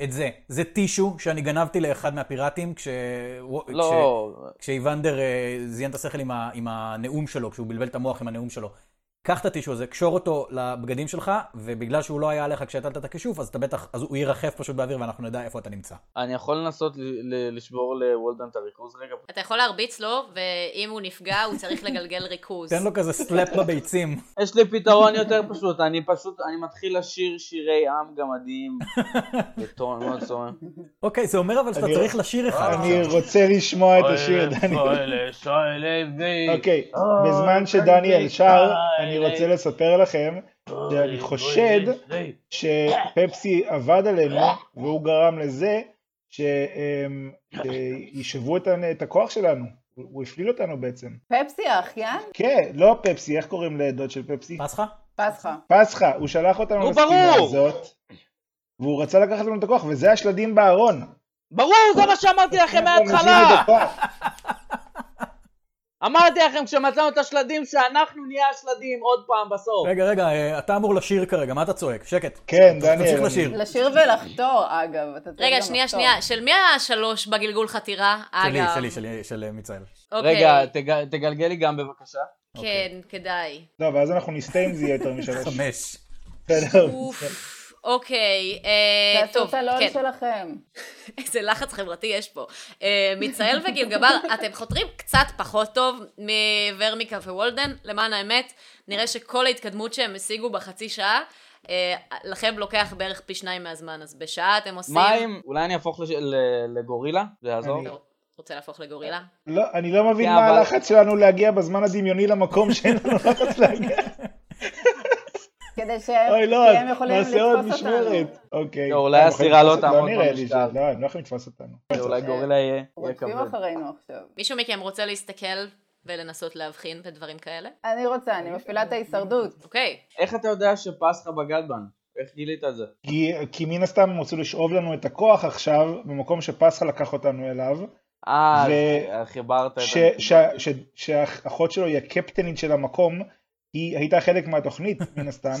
[SPEAKER 2] את זה. זה טישו שאני גנבתי לאחד מהפיראטים כש... כש-
[SPEAKER 4] לא,
[SPEAKER 2] כשאיוונדר אה, זיין את השכל עם, ה, עם הנאום שלו, כשהוא בלבל את המוח עם הנאום שלו. קח את הטישו הזה, קשור אותו לבגדים שלך, ובגלל שהוא לא היה עליך כשהטלת את הכישוף, אז אתה בטח, אז הוא יירחף פשוט באוויר ואנחנו נדע איפה אתה נמצא.
[SPEAKER 4] אני יכול לנסות ל- ל- לשבור לוולדן את הריכוז רגע?
[SPEAKER 1] אתה יכול להרביץ לו, ואם הוא נפגע, הוא צריך לגלגל ריכוז.
[SPEAKER 2] תן לו כזה סלאפ בביצים.
[SPEAKER 4] יש לי פתרון יותר פשוט, אני פשוט, אני מתחיל לשיר שירי עם גמדים בטון מאוד צומם.
[SPEAKER 2] אוקיי, זה אומר אבל שאתה
[SPEAKER 3] אני-
[SPEAKER 2] צריך לשיר אחד.
[SPEAKER 3] אני רוצה לשמוע את השיר, דני.
[SPEAKER 4] אה,
[SPEAKER 3] אוקיי, בזמן שדניאל שר, אני רוצה לספר לכם שאני חושד אוקיי. שפפסי עבד עלינו, והוא גרם לזה אמ, שישבו את הכוח שלנו. הוא הוא הפליל אותנו בעצם.
[SPEAKER 5] פפסי האחיין?
[SPEAKER 3] כן, לא פפסי, איך קוראים לדוד של פפסי?
[SPEAKER 2] פסחה?
[SPEAKER 5] פסחה.
[SPEAKER 3] פסחה, הוא שלח אותנו
[SPEAKER 4] נו,
[SPEAKER 3] לספינה
[SPEAKER 4] ברור.
[SPEAKER 3] הזאת, והוא רצה לקחת לנו את הכוח, וזה השלדים בארון.
[SPEAKER 4] ברור, זה מה שאמרתי
[SPEAKER 3] אוקיי,
[SPEAKER 4] לכם מההתחלה! אמרתי לכם כשמצאנו את השלדים שאנחנו נהיה השלדים עוד פעם בסוף.
[SPEAKER 2] רגע, רגע, אה, אתה אמור לשיר כרגע, מה אתה צועק? שקט.
[SPEAKER 3] כן, דניאל.
[SPEAKER 2] תמשיך
[SPEAKER 3] אני-
[SPEAKER 2] לשיר.
[SPEAKER 5] לשיר ולחתור, אגב. אתה צריך
[SPEAKER 1] רגע,
[SPEAKER 5] גם
[SPEAKER 1] שנייה,
[SPEAKER 5] לחתור.
[SPEAKER 1] שנייה, של מי השלוש בגלגול חתירה?
[SPEAKER 2] שלי,
[SPEAKER 1] אגב.
[SPEAKER 2] שלי, שלי, של אה, מיצאל.
[SPEAKER 1] אוקיי.
[SPEAKER 4] רגע, תג- תגלגל לי גם בבקשה.
[SPEAKER 2] אוקיי.
[SPEAKER 1] כן, כדאי.
[SPEAKER 3] לא, ואז אנחנו נסטה אם זה יהיה יותר משלוש.
[SPEAKER 2] חמש.
[SPEAKER 3] בסדר.
[SPEAKER 1] אוף. אוקיי, אה,
[SPEAKER 5] תעשו
[SPEAKER 1] טוב,
[SPEAKER 5] את הלול
[SPEAKER 1] כן,
[SPEAKER 5] שלכם.
[SPEAKER 1] איזה לחץ חברתי יש פה. אה, מצאל וגילגבר, אתם חותרים קצת פחות טוב מוורמיקה ווולדן, למען האמת, נראה שכל ההתקדמות שהם השיגו בחצי שעה, אה, לכם לוקח בערך פי שניים מהזמן, אז בשעה אתם עושים...
[SPEAKER 4] מה אם, אולי אני אהפוך לש- ל- לגורילה? זה יעזור?
[SPEAKER 3] אני-
[SPEAKER 1] אתה רוצה להפוך לגורילה?
[SPEAKER 3] לא, אני לא מבין
[SPEAKER 4] כן,
[SPEAKER 3] מה
[SPEAKER 4] אבל-
[SPEAKER 3] הלחץ שלנו להגיע בזמן הדמיוני למקום שאין לנו לחץ להגיע.
[SPEAKER 5] כדי שהם
[SPEAKER 3] אוי, לא,
[SPEAKER 5] כי הם יכולים
[SPEAKER 3] נעשה עוד
[SPEAKER 5] לתפוס
[SPEAKER 3] משמרת.
[SPEAKER 5] אותנו.
[SPEAKER 3] אוקיי.
[SPEAKER 4] לא, אולי
[SPEAKER 3] הם יכולים
[SPEAKER 4] הסירה לא
[SPEAKER 3] לתפוס-
[SPEAKER 4] תעמוד
[SPEAKER 3] לא נראה לי ש...
[SPEAKER 4] במשקל. אוקיי.
[SPEAKER 3] לא, הם לא יכולים לתפוס אותנו. אוקיי.
[SPEAKER 4] אולי גורילה יהיה יהיה
[SPEAKER 5] רודפים
[SPEAKER 4] כבד.
[SPEAKER 5] אחרינו עכשיו.
[SPEAKER 1] מישהו מכם רוצה להסתכל ולנסות להבחין בדברים כאלה?
[SPEAKER 5] אני רוצה, אני מפעילה את ההישרדות.
[SPEAKER 1] אוקיי.
[SPEAKER 4] איך אתה יודע שפסחה בגד בנו? איך גילית את זה?
[SPEAKER 3] כי- כי מן הסתם הם רצו לשאוב לנו את הכוח עכשיו, במקום שפסחה לקח אותנו אליו,
[SPEAKER 4] אה,
[SPEAKER 3] ו-
[SPEAKER 4] אז חיברת את אה,
[SPEAKER 3] ש-
[SPEAKER 4] הנקודות.
[SPEAKER 3] ש- ש- שהאחות שלו היא הקפטנית של המקום, היא הייתה חלק מהתוכנית מן הסתם,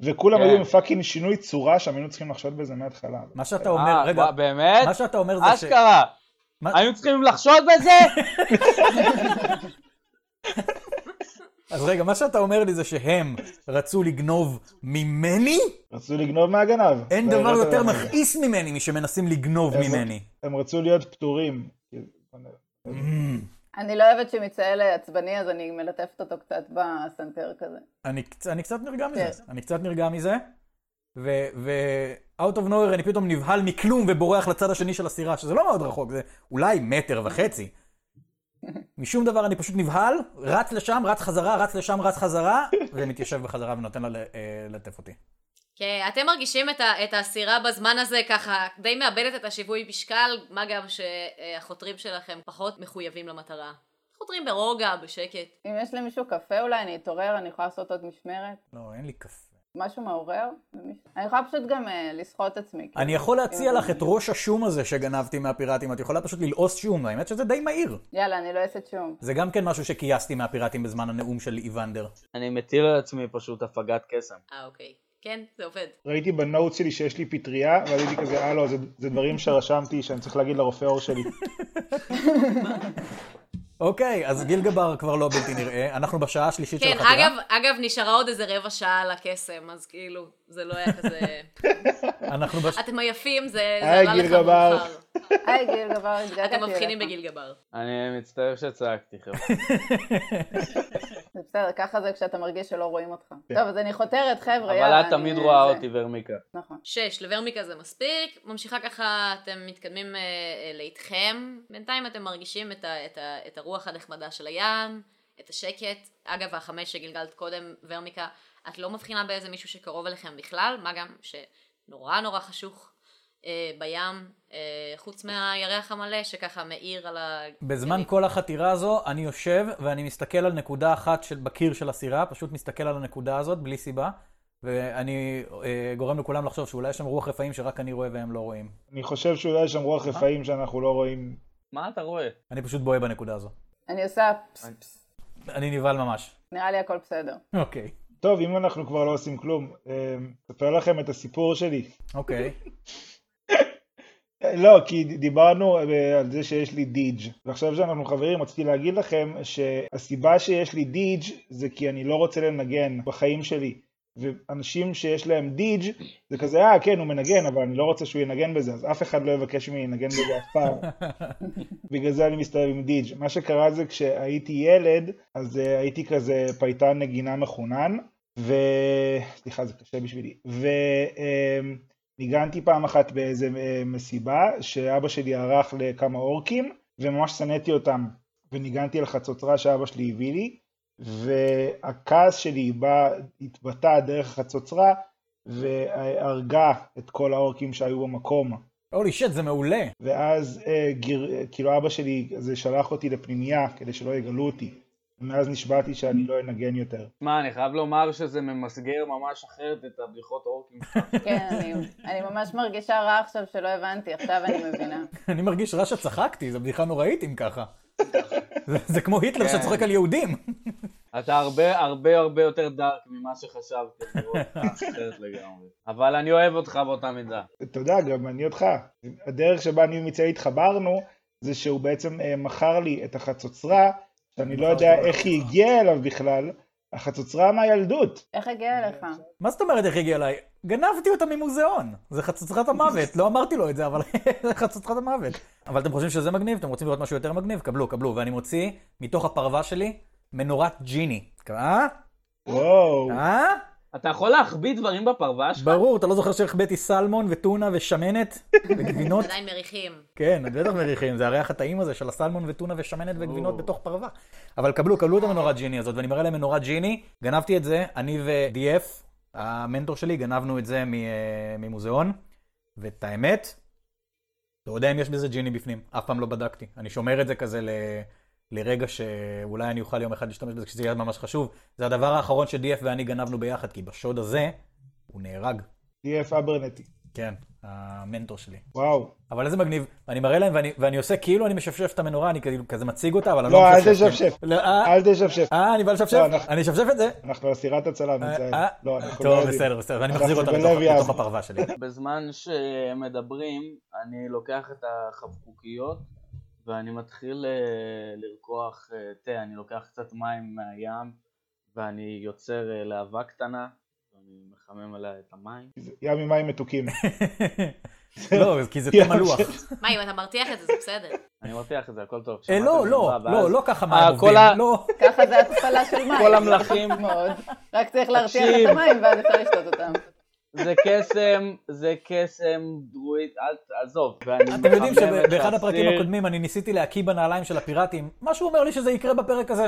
[SPEAKER 3] וכולם
[SPEAKER 4] כן.
[SPEAKER 3] היו עם פאקינג שינוי צורה שם, היינו צריכים לחשוד בזה מההתחלה.
[SPEAKER 2] מה שאתה
[SPEAKER 4] אה,
[SPEAKER 2] אומר, רגע,
[SPEAKER 4] מה, באמת?
[SPEAKER 2] מה שאתה אומר זה ש...
[SPEAKER 4] אשכרה.
[SPEAKER 2] מה-
[SPEAKER 4] היינו צריכים לחשוד בזה?
[SPEAKER 2] אז רגע, מה שאתה אומר לי זה שהם רצו לגנוב ממני?
[SPEAKER 3] רצו לגנוב מהגנב.
[SPEAKER 2] אין
[SPEAKER 3] זה
[SPEAKER 2] דבר
[SPEAKER 3] לא
[SPEAKER 2] יותר
[SPEAKER 3] דבר.
[SPEAKER 2] מכעיס ממני משמנסים לגנוב
[SPEAKER 3] איזה-
[SPEAKER 2] ממני.
[SPEAKER 3] הם רצו להיות פטורים.
[SPEAKER 2] אמ,
[SPEAKER 5] אני לא אוהבת שמצאל עצבני, אז אני מלטפת אותו קצת בסנטר כזה.
[SPEAKER 2] אני קצ- אני קצת נרגע מזה, אני קצת נרגע מזה, ו-out of nowhere אני פתאום נבהל מכלום ובורח לצד השני של הסירה, שזה לא מאוד רחוק, זה אולי מטר וחצי. משום דבר אני פשוט נבהל, רץ לשם, רץ חזרה, רץ לשם, רץ חזרה, ומתיישב בחזרה ונותן לה ל- אה, ללטף אותי.
[SPEAKER 1] כן, אתם מרגישים את, ה, את הסירה בזמן הזה ככה, די מאבדת את השיווי משקל, מה גם שהחותרים שלכם פחות מחויבים למטרה. חותרים ברוגע, בשקט.
[SPEAKER 5] אם יש למישהו קפה אולי, אני אתעורר, אני יכולה לעשות עוד משמרת.
[SPEAKER 2] לא, אין לי קפה.
[SPEAKER 5] משהו מעורר? למישהו? אני יכולה פשוט גם אה, לסחוט את עצמי.
[SPEAKER 2] אני יכול להציע
[SPEAKER 5] אם-
[SPEAKER 2] לך את ראש השום הזה שגנבתי מהפיראטים, את יכולה פשוט ללעוס שום, האמת שזה די מהיר.
[SPEAKER 5] יאללה, אני לא אעשה שום.
[SPEAKER 2] זה גם כן משהו שכייסתי מהפיראטים בזמן הנאום של איוונדר.
[SPEAKER 4] אני מטיל על עצמי פשוט הפגת קסם.
[SPEAKER 1] אה, אוקיי. כן, זה עובד.
[SPEAKER 3] ראיתי בנוט שלי שיש לי פטריה, ואז הייתי כזה, אה לא, זה, זה דברים שרשמתי שאני צריך להגיד לרופא עור שלי.
[SPEAKER 2] אוקיי, אז גילגבר כבר לא בלתי נראה, אנחנו בשעה השלישית של
[SPEAKER 1] כן,
[SPEAKER 2] החקירה.
[SPEAKER 1] אגב, אגב, נשארה עוד איזה רבע שעה על הקסם, אז כאילו, זה לא היה כזה...
[SPEAKER 2] אנחנו בש...
[SPEAKER 1] אתם עייפים, זה זה
[SPEAKER 3] היי,
[SPEAKER 1] עלה
[SPEAKER 3] גיל
[SPEAKER 1] לך
[SPEAKER 3] גבר.
[SPEAKER 1] מאוחר.
[SPEAKER 5] היי גיל גבר, התגעגעתי אליך.
[SPEAKER 1] אתם מבחינים בגיל גבר.
[SPEAKER 4] אני מצטער שצעקתי, חבר'ה.
[SPEAKER 5] זה בסדר, ככה זה כשאתה מרגיש שלא רואים אותך.
[SPEAKER 2] כן.
[SPEAKER 5] טוב, אז אני חותרת, חבר'ה, יאללה.
[SPEAKER 4] אבל את תמיד
[SPEAKER 5] אני-
[SPEAKER 4] רואה
[SPEAKER 5] זה.
[SPEAKER 4] אותי, ורמיקה.
[SPEAKER 5] נכון.
[SPEAKER 1] שש, לוורמיקה זה מספיק. ממשיכה ככה, אתם מתקדמים אה, אה, לאיתכם. בינתיים אתם מרגישים את, ה, את, ה, את הרוח הנחמדה של הים, את השקט. אגב, החמש שגלגלת קודם, ורמיקה, את לא מבחינה באיזה מישהו שקרוב אליכם בכלל, מה גם שנורא נורא חשוך אה, בים, אה, חוץ מהירח המלא שככה מאיר על ה...
[SPEAKER 2] בזמן כל החתירה הזו, אני יושב ואני מסתכל על נקודה אחת של, בקיר של הסירה, פשוט מסתכל על הנקודה הזאת בלי סיבה, ואני אה, גורם לכולם לחשוב שאולי יש שם רוח רפאים שרק אני רואה והם לא רואים.
[SPEAKER 3] אני חושב שאולי יש שם רוח רפאים שאנחנו לא רואים.
[SPEAKER 4] מה אתה רואה?
[SPEAKER 2] אני פשוט בוהה בנקודה הזו.
[SPEAKER 5] אני עושה פס, פס.
[SPEAKER 2] אני נבהל ממש.
[SPEAKER 5] נראה לי הכל בסדר.
[SPEAKER 2] אוקיי.
[SPEAKER 3] טוב, אם אנחנו כבר לא עושים כלום, אה, אספר לכם את הסיפור שלי.
[SPEAKER 2] אוקיי.
[SPEAKER 3] לא, כי דיברנו אה, על זה שיש לי דיג' ועכשיו שאנחנו חברים רציתי להגיד לכם שהסיבה שיש לי דיג' זה כי אני לא רוצה לנגן בחיים שלי ואנשים שיש להם דיג' זה כזה אה כן הוא מנגן אבל אני לא רוצה שהוא ינגן בזה אז אף אחד לא יבקש ממני לנגן בזה אף פעם בגלל זה אני מסתובב עם דיג' מה שקרה זה כשהייתי ילד אז אה, הייתי כזה פייטן נגינה מחונן ו... סליחה זה קשה בשבילי ו... אה, ניגנתי פעם אחת באיזה אה, מסיבה שאבא שלי ערך לכמה אורקים וממש שנאתי אותם וניגנתי על חצוצרה שאבא שלי הביא לי והכעס שלי בא, התבטא דרך החצוצרה והרגה את כל האורקים שהיו במקום
[SPEAKER 2] הולי שט, זה מעולה.
[SPEAKER 3] ואז אה, גיר, אה, כאילו אבא שלי זה שלח אותי לפנימייה כדי שלא יגלו אותי ומאז נשבעתי שאני לא אנגן יותר
[SPEAKER 4] שמע, אני חייב לומר שזה ממסגר ממש אחרת את הבדיחות אורקים.
[SPEAKER 5] כן, אני, אני ממש מרגישה רע עכשיו שלא הבנתי, עכשיו אני מבינה.
[SPEAKER 2] אני מרגיש רע שצחקתי, זו בדיחה נוראית אם ככה. זה, זה כמו היטלר
[SPEAKER 4] כן.
[SPEAKER 2] שצוחק על יהודים.
[SPEAKER 4] אתה הרבה הרבה הרבה יותר דארק ממה שחשבתי, אני רואה אותך אחרת לגמרי. אבל אני אוהב אותך באותה מידה.
[SPEAKER 3] אתה יודע, גם אני אותך. הדרך שבה אני ומצאי התחברנו, זה שהוא בעצם אה, מכר לי את החצוצרה, שאני לא יודע איך היא הגיעה אליו בכלל, החצוצרה מהילדות.
[SPEAKER 5] איך הגיע אליך?
[SPEAKER 2] מה זאת אומרת איך הגיע אליי? גנבתי אותה ממוזיאון. זה חצוצרת המוות, לא אמרתי לו את זה, אבל זה חצוצרת המוות. אבל אתם חושבים שזה מגניב? אתם רוצים לראות משהו יותר מגניב? קבלו, קבלו. ואני מוציא מתוך הפרווה שלי מנורת ג'יני. אה?
[SPEAKER 3] וואו,
[SPEAKER 2] אה?
[SPEAKER 4] אתה יכול להחביא דברים בפרווה שלך?
[SPEAKER 2] ברור, אתה לא זוכר שהחבאתי סלמון וטונה ושמנת וגבינות?
[SPEAKER 1] עדיין מריחים.
[SPEAKER 2] כן, את בטח מריחים, זה הריח הטעים הזה של הסלמון וטונה ושמנת וגבינות בתוך פרווה. אבל קבלו, קבלו את המנורת ג'יני הזאת, ואני מראה להם מנורת ג'יני, גנבתי את זה, אני ו-DF, המנטור שלי, גנבנו את זה מ- אה, ממוזיאון, ואת האמת, לא יודע אם יש בזה ג'יני בפנים, אף פעם לא בדקתי. אני שומר את זה כזה ל... לרגע שאולי אני אוכל יום אחד להשתמש בזה, כשזה יהיה ממש חשוב. זה הדבר האחרון ש-DF ואני גנבנו ביחד, כי בשוד הזה הוא נהרג.
[SPEAKER 3] DF אברנטי.
[SPEAKER 2] כן, המנטור שלי.
[SPEAKER 3] וואו.
[SPEAKER 2] אבל איזה מגניב, אני מראה להם ואני, ואני עושה כאילו אני משפשף את המנורה, אני כאילו כזה מציג אותה, אבל אני
[SPEAKER 3] לא,
[SPEAKER 2] לא
[SPEAKER 3] אל
[SPEAKER 2] משפשף.
[SPEAKER 3] תשפשף.
[SPEAKER 2] לא, אה,
[SPEAKER 3] אל תשפשף,
[SPEAKER 2] אה, אני בא לשפשף?
[SPEAKER 3] לא, אנחנו-
[SPEAKER 2] אני אשפשף את זה?
[SPEAKER 3] אנחנו אסירת הצלה, מצאי.
[SPEAKER 2] אה,
[SPEAKER 3] לא, אנחנו לא
[SPEAKER 2] טוב,
[SPEAKER 3] יודעים.
[SPEAKER 2] בסדר, בסדר, ואני
[SPEAKER 3] אנחנו
[SPEAKER 2] מחזיר אותה
[SPEAKER 3] בלב
[SPEAKER 2] לתוך
[SPEAKER 3] יעז.
[SPEAKER 2] לתוך הפרווה שלי.
[SPEAKER 4] בזמן שמדברים, אני לוקח את החבקוקיות ואני מתחיל אה, לרקוח אה, תה, אני לוקח קצת מים מהים ואני יוצר אה, להבה קטנה ואני מחמם עליה את המים.
[SPEAKER 3] ים עם מים מתוקים.
[SPEAKER 2] לא, כי זה תה מלוח.
[SPEAKER 1] מה, אם אתה מרתיח את זה, זה בסדר.
[SPEAKER 4] אני מרתיח את זה, הכל טוב.
[SPEAKER 2] אה,
[SPEAKER 4] שמעתם
[SPEAKER 2] לא,
[SPEAKER 4] את
[SPEAKER 2] לא,
[SPEAKER 4] זה,
[SPEAKER 2] לא,
[SPEAKER 4] ואז-
[SPEAKER 2] לא ככה
[SPEAKER 4] אה,
[SPEAKER 2] מים
[SPEAKER 4] כל
[SPEAKER 2] עובדים.
[SPEAKER 4] ה-
[SPEAKER 2] לא,
[SPEAKER 5] ככה זה התפלה של מים.
[SPEAKER 4] כל המלכים.
[SPEAKER 5] מאוד. רק צריך להרתיח את
[SPEAKER 4] תקשיב.
[SPEAKER 5] המים ואז אפשר לשתות אותם.
[SPEAKER 4] זה קסם, זה קסם דרואית, אל תעזוב. ואני
[SPEAKER 2] אתם יודעים
[SPEAKER 4] מחמם את
[SPEAKER 2] שבאחד הפרקים
[SPEAKER 4] הסיר.
[SPEAKER 2] הקודמים אני ניסיתי להקיא בנעליים של הפיראטים, משהו אומר לי שזה יקרה בפרק הזה.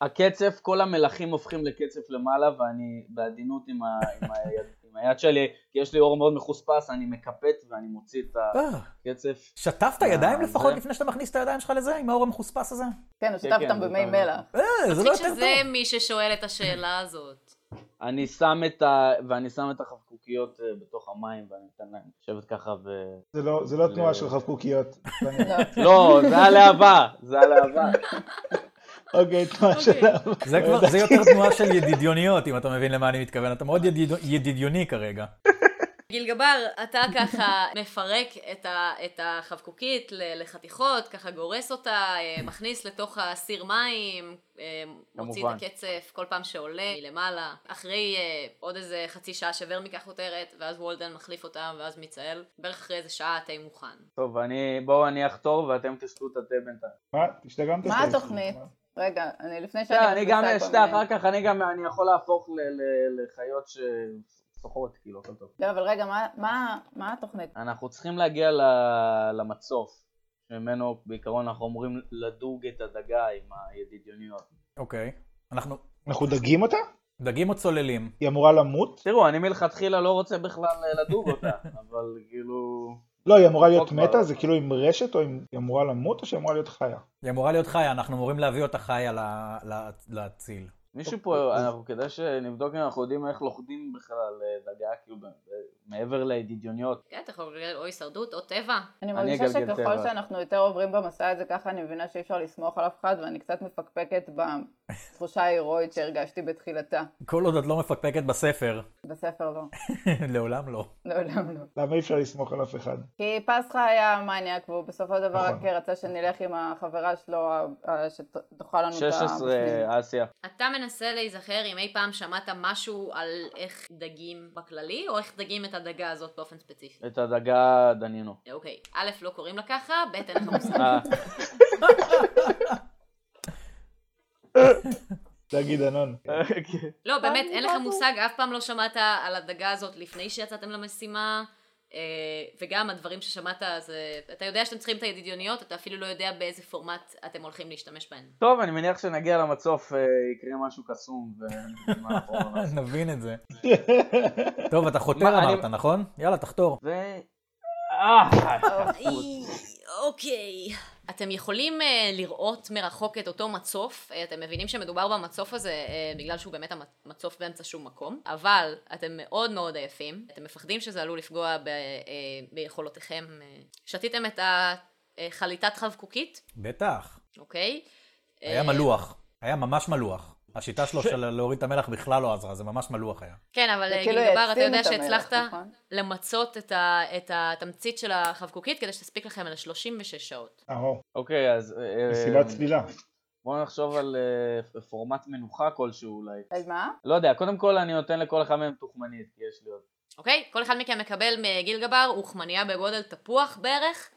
[SPEAKER 4] הקצף, כל המלכים הופכים לקצף למעלה, ואני בעדינות עם, ה, עם, היד, עם היד שלי, כי יש לי אור מאוד מחוספס, אני מקפט ואני מוציא את
[SPEAKER 2] אה,
[SPEAKER 4] הקצף.
[SPEAKER 2] שטפת ידיים
[SPEAKER 4] אה,
[SPEAKER 2] לפחות
[SPEAKER 4] זה-
[SPEAKER 2] לפני שאתה מכניס את הידיים שלך לזה, עם האור המחוספס הזה?
[SPEAKER 5] כן, הוא
[SPEAKER 4] כן,
[SPEAKER 5] שטף
[SPEAKER 4] כן,
[SPEAKER 5] אותם במי
[SPEAKER 4] מותר.
[SPEAKER 5] מלח.
[SPEAKER 2] אה, זה לא
[SPEAKER 1] מצחיק
[SPEAKER 2] יותר
[SPEAKER 1] שזה
[SPEAKER 2] טוב.
[SPEAKER 1] מי ששואל את השאלה הזאת.
[SPEAKER 4] אני שם את ה... ואני שם את החבקוקיות אה, בתוך המים, ואני נותן להם לשבת ככה ו...
[SPEAKER 3] זה לא- זה לא
[SPEAKER 4] ל-
[SPEAKER 3] תנועה של חבקוקיות.
[SPEAKER 5] לא.
[SPEAKER 4] לא, זה הלהבה, זה הלהבה.
[SPEAKER 3] אוקיי, תנועה של...
[SPEAKER 2] זה כבר, זה יותר תנועה של ידידיוניות, אם אתה מבין למה אני מתכוון. אתה מאוד ידיד- ידידיוני כרגע.
[SPEAKER 1] גיל גבר, אתה ככה מפרק את, ה, את החבקוקית ל- לחתיכות, ככה גורס אותה, אה, מכניס לתוך הסיר מים, אה, מוציא את
[SPEAKER 4] כמובן.
[SPEAKER 1] הקצף כל פעם שעולה מלמעלה. אחרי אה, עוד איזה חצי שעה שוורמיקה חותרת, ואז וולדן מחליף אותה, ואז מיצאל. בערך אחרי איזה שעה התה מוכן.
[SPEAKER 4] טוב, אני... בואו אני אחתור ואתם תשתו את התה בינתיים.
[SPEAKER 3] מה? תשתגמת?
[SPEAKER 5] מה התוכנית? רגע, אני לפני שאני...
[SPEAKER 4] כן, אני גם
[SPEAKER 5] מכניסה כל
[SPEAKER 4] אשתה
[SPEAKER 5] מיני-
[SPEAKER 4] אחר כך, אני גם... אני יכול להפוך ל- ל- לחיות שסוחרות, כאילו, הכל טוב.
[SPEAKER 5] לא, אבל רגע, מה- מה- מה התוכנית?
[SPEAKER 4] אנחנו צריכים להגיע ל- למצוף, שממנו בעיקרון אנחנו אמורים לדוג את הדגה עם הידידיוניות.
[SPEAKER 2] אוקיי. אנחנו
[SPEAKER 3] אנחנו דגים אותה?
[SPEAKER 2] דגים או צוללים?
[SPEAKER 3] היא אמורה למות?
[SPEAKER 4] תראו, אני מלכתחילה לא רוצה בכלל אה, לדוג אותה, אבל כאילו...
[SPEAKER 3] לא, היא אמורה להיות
[SPEAKER 4] כבר.
[SPEAKER 3] מתה? זה כאילו עם רשת או עם- היא אמורה למות או שהיא אמורה להיות חיה?
[SPEAKER 2] היא אמורה להיות חיה, אנחנו אמורים להביא אותה חיה ל- ל- להציל.
[SPEAKER 4] מישהו פה,
[SPEAKER 5] אוקיי.
[SPEAKER 4] אנחנו כדאי שנבדוק אם אנחנו יודעים איך לוכדים בכלל אה, דגה, כאילו, ב- ב- מעבר לידידיוניות.
[SPEAKER 1] כן, אתה יכול לגלגל או הישרדות או טבע.
[SPEAKER 4] אני
[SPEAKER 5] אני מרגישה
[SPEAKER 4] אגלגל
[SPEAKER 5] שככל
[SPEAKER 4] טבע.
[SPEAKER 5] שאנחנו יותר עוברים במסע הזה, ככה אני מבינה שאי אפשר לסמוך על אף אחד, ואני קצת מפקפקת בתחושה ההירואית שהרגשתי בתחילתה.
[SPEAKER 2] כל עוד את לא מפקפקת בספר,
[SPEAKER 5] בספר לא.
[SPEAKER 2] לעולם לא.
[SPEAKER 5] לעולם לא.
[SPEAKER 3] למה אי אפשר לסמוך על אף אחד?
[SPEAKER 5] כי פסחה היה מניאק, והוא בסופו של דבר רק
[SPEAKER 3] נכון.
[SPEAKER 5] רצה שנלך עם החברה שלו, ה- ה- שתאכל לנו את ה...
[SPEAKER 4] 16 אה, אסיה.
[SPEAKER 1] אתה מנסה להיזכר אם אי פעם שמעת משהו על איך דגים בכללי, או איך דגים את הדגה הזאת באופן ספציפי.
[SPEAKER 4] את הדגה דנינו.
[SPEAKER 1] אוקיי, א', לא קוראים לה ככה, ב', אין לך מושג.
[SPEAKER 4] אה,
[SPEAKER 3] דגי דנון.
[SPEAKER 4] אוקיי.
[SPEAKER 1] לא, באמת, אין לך מושג, אף פעם לא שמעת על הדגה הזאת לפני שיצאתם למשימה, אה, וגם הדברים ששמעת, זה... אתה יודע שאתם צריכים את הידידיוניות, אתה אפילו לא יודע באיזה פורמט אתם הולכים להשתמש בהן.
[SPEAKER 4] טוב, אני מניח שנגיע למצוף, אה, יקרה משהו קסום, ומה אנחנו אמורים לעשות.
[SPEAKER 2] נבין את זה. טוב, אתה חותר
[SPEAKER 4] מה, אני-
[SPEAKER 2] אמרת, נכון? יאללה, תחתור.
[SPEAKER 4] ו... אה,
[SPEAKER 1] אי, אוקיי. אתם יכולים אה, לראות מרחוק את אותו מצוף, אה, אתם מבינים שמדובר במצוף הזה אה, בגלל שהוא באמת המצוף באמצע שום מקום, אבל אתם מאוד מאוד עייפים, אתם מפחדים שזה עלול לפגוע ב, אה, ביכולותיכם. אה. שתיתם את החליטת חבקוקית,
[SPEAKER 2] בטח.
[SPEAKER 1] אוקיי?
[SPEAKER 2] היה
[SPEAKER 1] אה,
[SPEAKER 2] מלוח. היה ממש מלוח. השיטה שלו של להוריד את המלח בכלל לא עזרה, זה ממש מלוח היה.
[SPEAKER 1] כן, אבל
[SPEAKER 5] זה
[SPEAKER 1] אה,
[SPEAKER 5] כאילו
[SPEAKER 1] גיל גבר, אתה
[SPEAKER 5] העצים
[SPEAKER 1] יודע
[SPEAKER 5] את המלח,
[SPEAKER 1] שהצלחת
[SPEAKER 5] נכון?
[SPEAKER 1] למצות את ה- את התמצית של החבקוקית כדי שתספיק לכם על 36 שעות.
[SPEAKER 3] אה, או,
[SPEAKER 4] אוקיי, אז... אה,
[SPEAKER 3] מסיבת צלילה.
[SPEAKER 4] בואו נחשוב על אה, פורמט מנוחה כלשהו אולי.
[SPEAKER 5] אז מה?
[SPEAKER 4] לא יודע, קודם כל אני נותן לכל אחד מהם תוכמנית, כי יש לי עוד.
[SPEAKER 1] אוקיי? כל אחד מכם מקבל מגיל גבר אוכמניה בגודל תפוח בערך.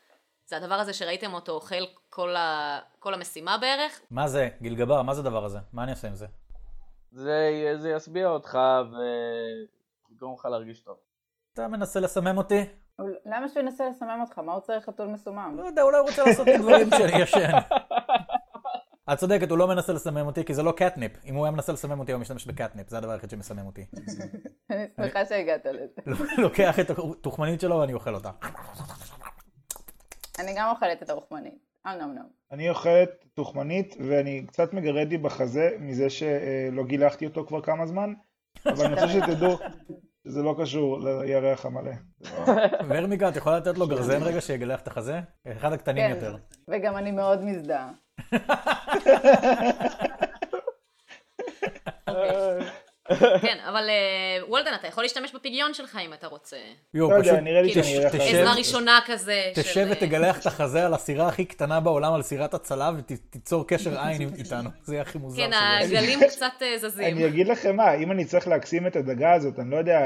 [SPEAKER 1] זה הדבר הזה שראיתם אותו אוכל כל, ה... כל המשימה בערך.
[SPEAKER 2] מה זה, גיל גבר, מה זה הדבר הזה? מה אני עושה עם זה?
[SPEAKER 4] זה, זה ישביע אותך ויגרום לך להרגיש טוב.
[SPEAKER 2] אתה מנסה לסמם אותי?
[SPEAKER 5] הוא- למה שהוא ינסה לסמם אותך? מה הוא צריך חתול מסומם?
[SPEAKER 2] לא יודע, אולי הוא רוצה לעשות לי דברים שאני ישן. את צודקת, הוא לא מנסה לסמם אותי, כי זה לא קטניפ. אם הוא היה מנסה לסמם אותי, הוא היה משתמש בקטניפ, זה הדבר היחיד שמסמם אותי.
[SPEAKER 5] אני שמחה שהגעת לזה.
[SPEAKER 2] לוקח את התוכמנית שלו ואני אוכל אותה.
[SPEAKER 5] אני גם אוכלת את הרוחמנית. אמנם אמנם.
[SPEAKER 3] אני אוכלת תוכמנית ואני קצת מגרד לי בחזה מזה שלא גילחתי אותו כבר כמה זמן, אבל אני רוצה שתדעו שזה לא קשור לירח המלא.
[SPEAKER 2] ורמיקה, את יכולה לתת לו גרזן רגע שיגלח את החזה? אחד הקטנים
[SPEAKER 5] כן.
[SPEAKER 2] יותר.
[SPEAKER 5] וגם אני מאוד מזדהה.
[SPEAKER 1] כן, אבל אה, וולדן, אתה יכול להשתמש בפגיון שלך אם אתה רוצה.
[SPEAKER 2] יואו,
[SPEAKER 3] לא
[SPEAKER 2] פשוט
[SPEAKER 3] יודע, נראה לי
[SPEAKER 1] כאילו,
[SPEAKER 3] שאני אלך...
[SPEAKER 2] תשב-
[SPEAKER 3] על
[SPEAKER 1] עזרה
[SPEAKER 3] זה.
[SPEAKER 1] ראשונה כזה. של,
[SPEAKER 2] כן. תשב
[SPEAKER 1] אה,
[SPEAKER 2] ותגלח את החזה על הסירה הכי קטנה בעולם, על סירת הצלה, ותיצור קשר עין עם- איתנו. זה יהיה הכי מוזר
[SPEAKER 1] כן,
[SPEAKER 2] שיש.
[SPEAKER 1] הגלים קצת אה, זזים.
[SPEAKER 3] אני אגיד לכם מה, אם אני צריך להקסים את הדגה הזאת, אני לא יודע,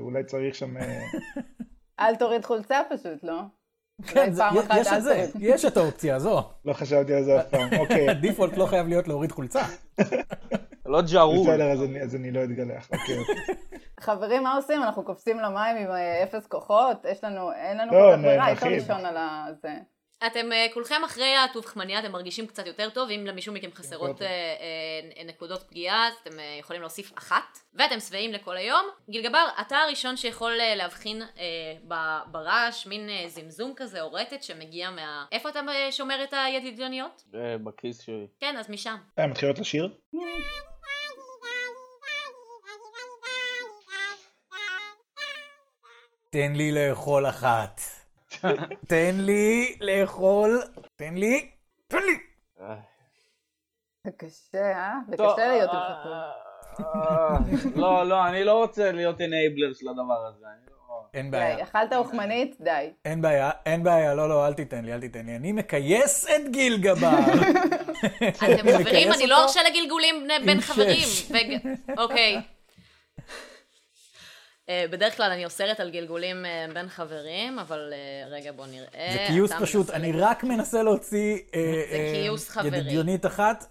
[SPEAKER 3] אולי צריך שם... אה,
[SPEAKER 5] אל תוריד חולצה פשוט, לא?
[SPEAKER 2] כן, זה-
[SPEAKER 5] פעם אחת
[SPEAKER 2] יש
[SPEAKER 5] אל
[SPEAKER 2] את זה,
[SPEAKER 5] תוריד.
[SPEAKER 2] יש את האופציה הזו.
[SPEAKER 3] לא חשבתי על זה אף פעם. אוקיי,
[SPEAKER 2] הדיפולט לא חייב להיות להוריד חולצה.
[SPEAKER 4] לא ג'ארול.
[SPEAKER 3] בסדר, אז אני- אז אני לא אתגלח. אוקיי, אוקיי.
[SPEAKER 5] חברים, מה עושים? אנחנו קופצים למים עם אה, אפס כוחות? יש לנו, אין לנו
[SPEAKER 3] לא,
[SPEAKER 5] כל כך
[SPEAKER 3] נ-
[SPEAKER 2] אה,
[SPEAKER 5] ברירה, אי אפשר
[SPEAKER 3] נרחיב.
[SPEAKER 5] לישון על ה... זה.
[SPEAKER 1] אתם אה, כולכם אחרי הטוב חמניה, אתם מרגישים קצת יותר טוב, אם למישהו מכם חסרות
[SPEAKER 3] יותר טוב.
[SPEAKER 1] אה, אה, נקודות פגיעה, אז אתם אה, יכולים להוסיף אחת, ואתם שבעים לכל היום. גילגבר, אתה הראשון שיכול אה, להבחין אה, ב- ברעש, מין אה, זמזום כזה, או רטט שמגיע מה... איפה אתה אה, שומר את הידידוניות?
[SPEAKER 4] אה, בכיס שלי.
[SPEAKER 1] כן, אז משם.
[SPEAKER 3] אה, מתחילות לשיר?
[SPEAKER 2] תן לי לאכול אחת. תן לי לאכול. תן לי. תן לי.
[SPEAKER 4] אה.
[SPEAKER 5] זה קשה, אה? זה
[SPEAKER 4] טוב,
[SPEAKER 5] קשה להיות עם
[SPEAKER 4] אה,
[SPEAKER 5] חתול.
[SPEAKER 4] אה, לא, לא, אני לא רוצה להיות enabler של הדבר הזה. אני לא-
[SPEAKER 2] אין
[SPEAKER 5] די,
[SPEAKER 2] בעיה.
[SPEAKER 5] אכלת אוכמנית? די.
[SPEAKER 2] אין בעיה, אין בעיה, לא, לא, אל תיתן לי, אל תיתן לי. אני מכייס את גיל גבר.
[SPEAKER 1] אתם חברים,
[SPEAKER 2] מכייס
[SPEAKER 1] אני
[SPEAKER 2] אותו?
[SPEAKER 1] לא ארשה לגלגולים בני- בין
[SPEAKER 2] עם
[SPEAKER 1] חברים.
[SPEAKER 2] שש.
[SPEAKER 1] וג- אוקיי. אה, בדרך כלל אני אוסרת על גלגולים אה, בין חברים, אבל אה, רגע בוא נראה.
[SPEAKER 2] זה קיוס
[SPEAKER 1] אתה
[SPEAKER 2] פשוט,
[SPEAKER 1] מנסה-
[SPEAKER 2] אני רק מנסה להוציא... אה,
[SPEAKER 1] זה
[SPEAKER 2] אה,
[SPEAKER 1] קיוס חברי.
[SPEAKER 2] ידידיונית אחת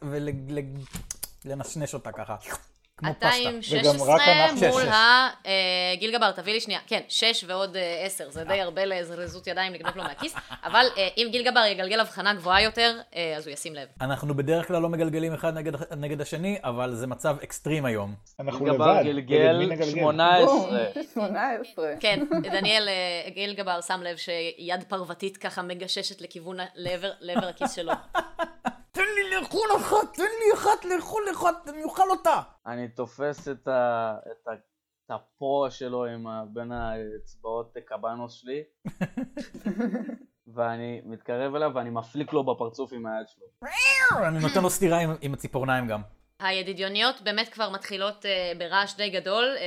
[SPEAKER 2] ולנשנש אותה ככה. כמו
[SPEAKER 1] אתה עם
[SPEAKER 2] פסטה.
[SPEAKER 3] וגם רק
[SPEAKER 1] 16
[SPEAKER 3] אנחנו-
[SPEAKER 1] מול
[SPEAKER 2] שש, שש.
[SPEAKER 1] ה... אה, גיל גבר, תביא לי שנייה. כן, 6 ועוד 10, זה די הרבה לזריזות ידיים לגנוב לו מהכיס, אבל אה, אם גיל גבר יגלגל הבחנה גבוהה יותר, אה, אז הוא ישים לב.
[SPEAKER 2] אנחנו בדרך כלל לא מגלגלים אחד נגד- נגד השני, אבל זה מצב אקסטרים היום.
[SPEAKER 3] אנחנו לבד.
[SPEAKER 4] גבר
[SPEAKER 3] נגד מי
[SPEAKER 4] גלגל
[SPEAKER 3] נגלגל?
[SPEAKER 4] 18.
[SPEAKER 5] 18.
[SPEAKER 1] כן, דניאל אה, גיל גבר שם לב שיד פרוותית ככה מגששת לכיוון, ה- לעבר לעבר הכיס שלו.
[SPEAKER 2] תן לי לאכול אחת, תן לי אחת לאכול אחת, אני אוכל אותה.
[SPEAKER 4] אני תופס את ה... את ה... את הפו שלו עם ה... בין האצבעות קבנוס שלי, ואני מתקרב אליו ואני מפליק לו בפרצוף עם היד שלו.
[SPEAKER 2] אני נותן לו סטירה עם- עם הציפורניים גם.
[SPEAKER 1] הידידיוניות באמת כבר מתחילות אה, ברעש די גדול אה,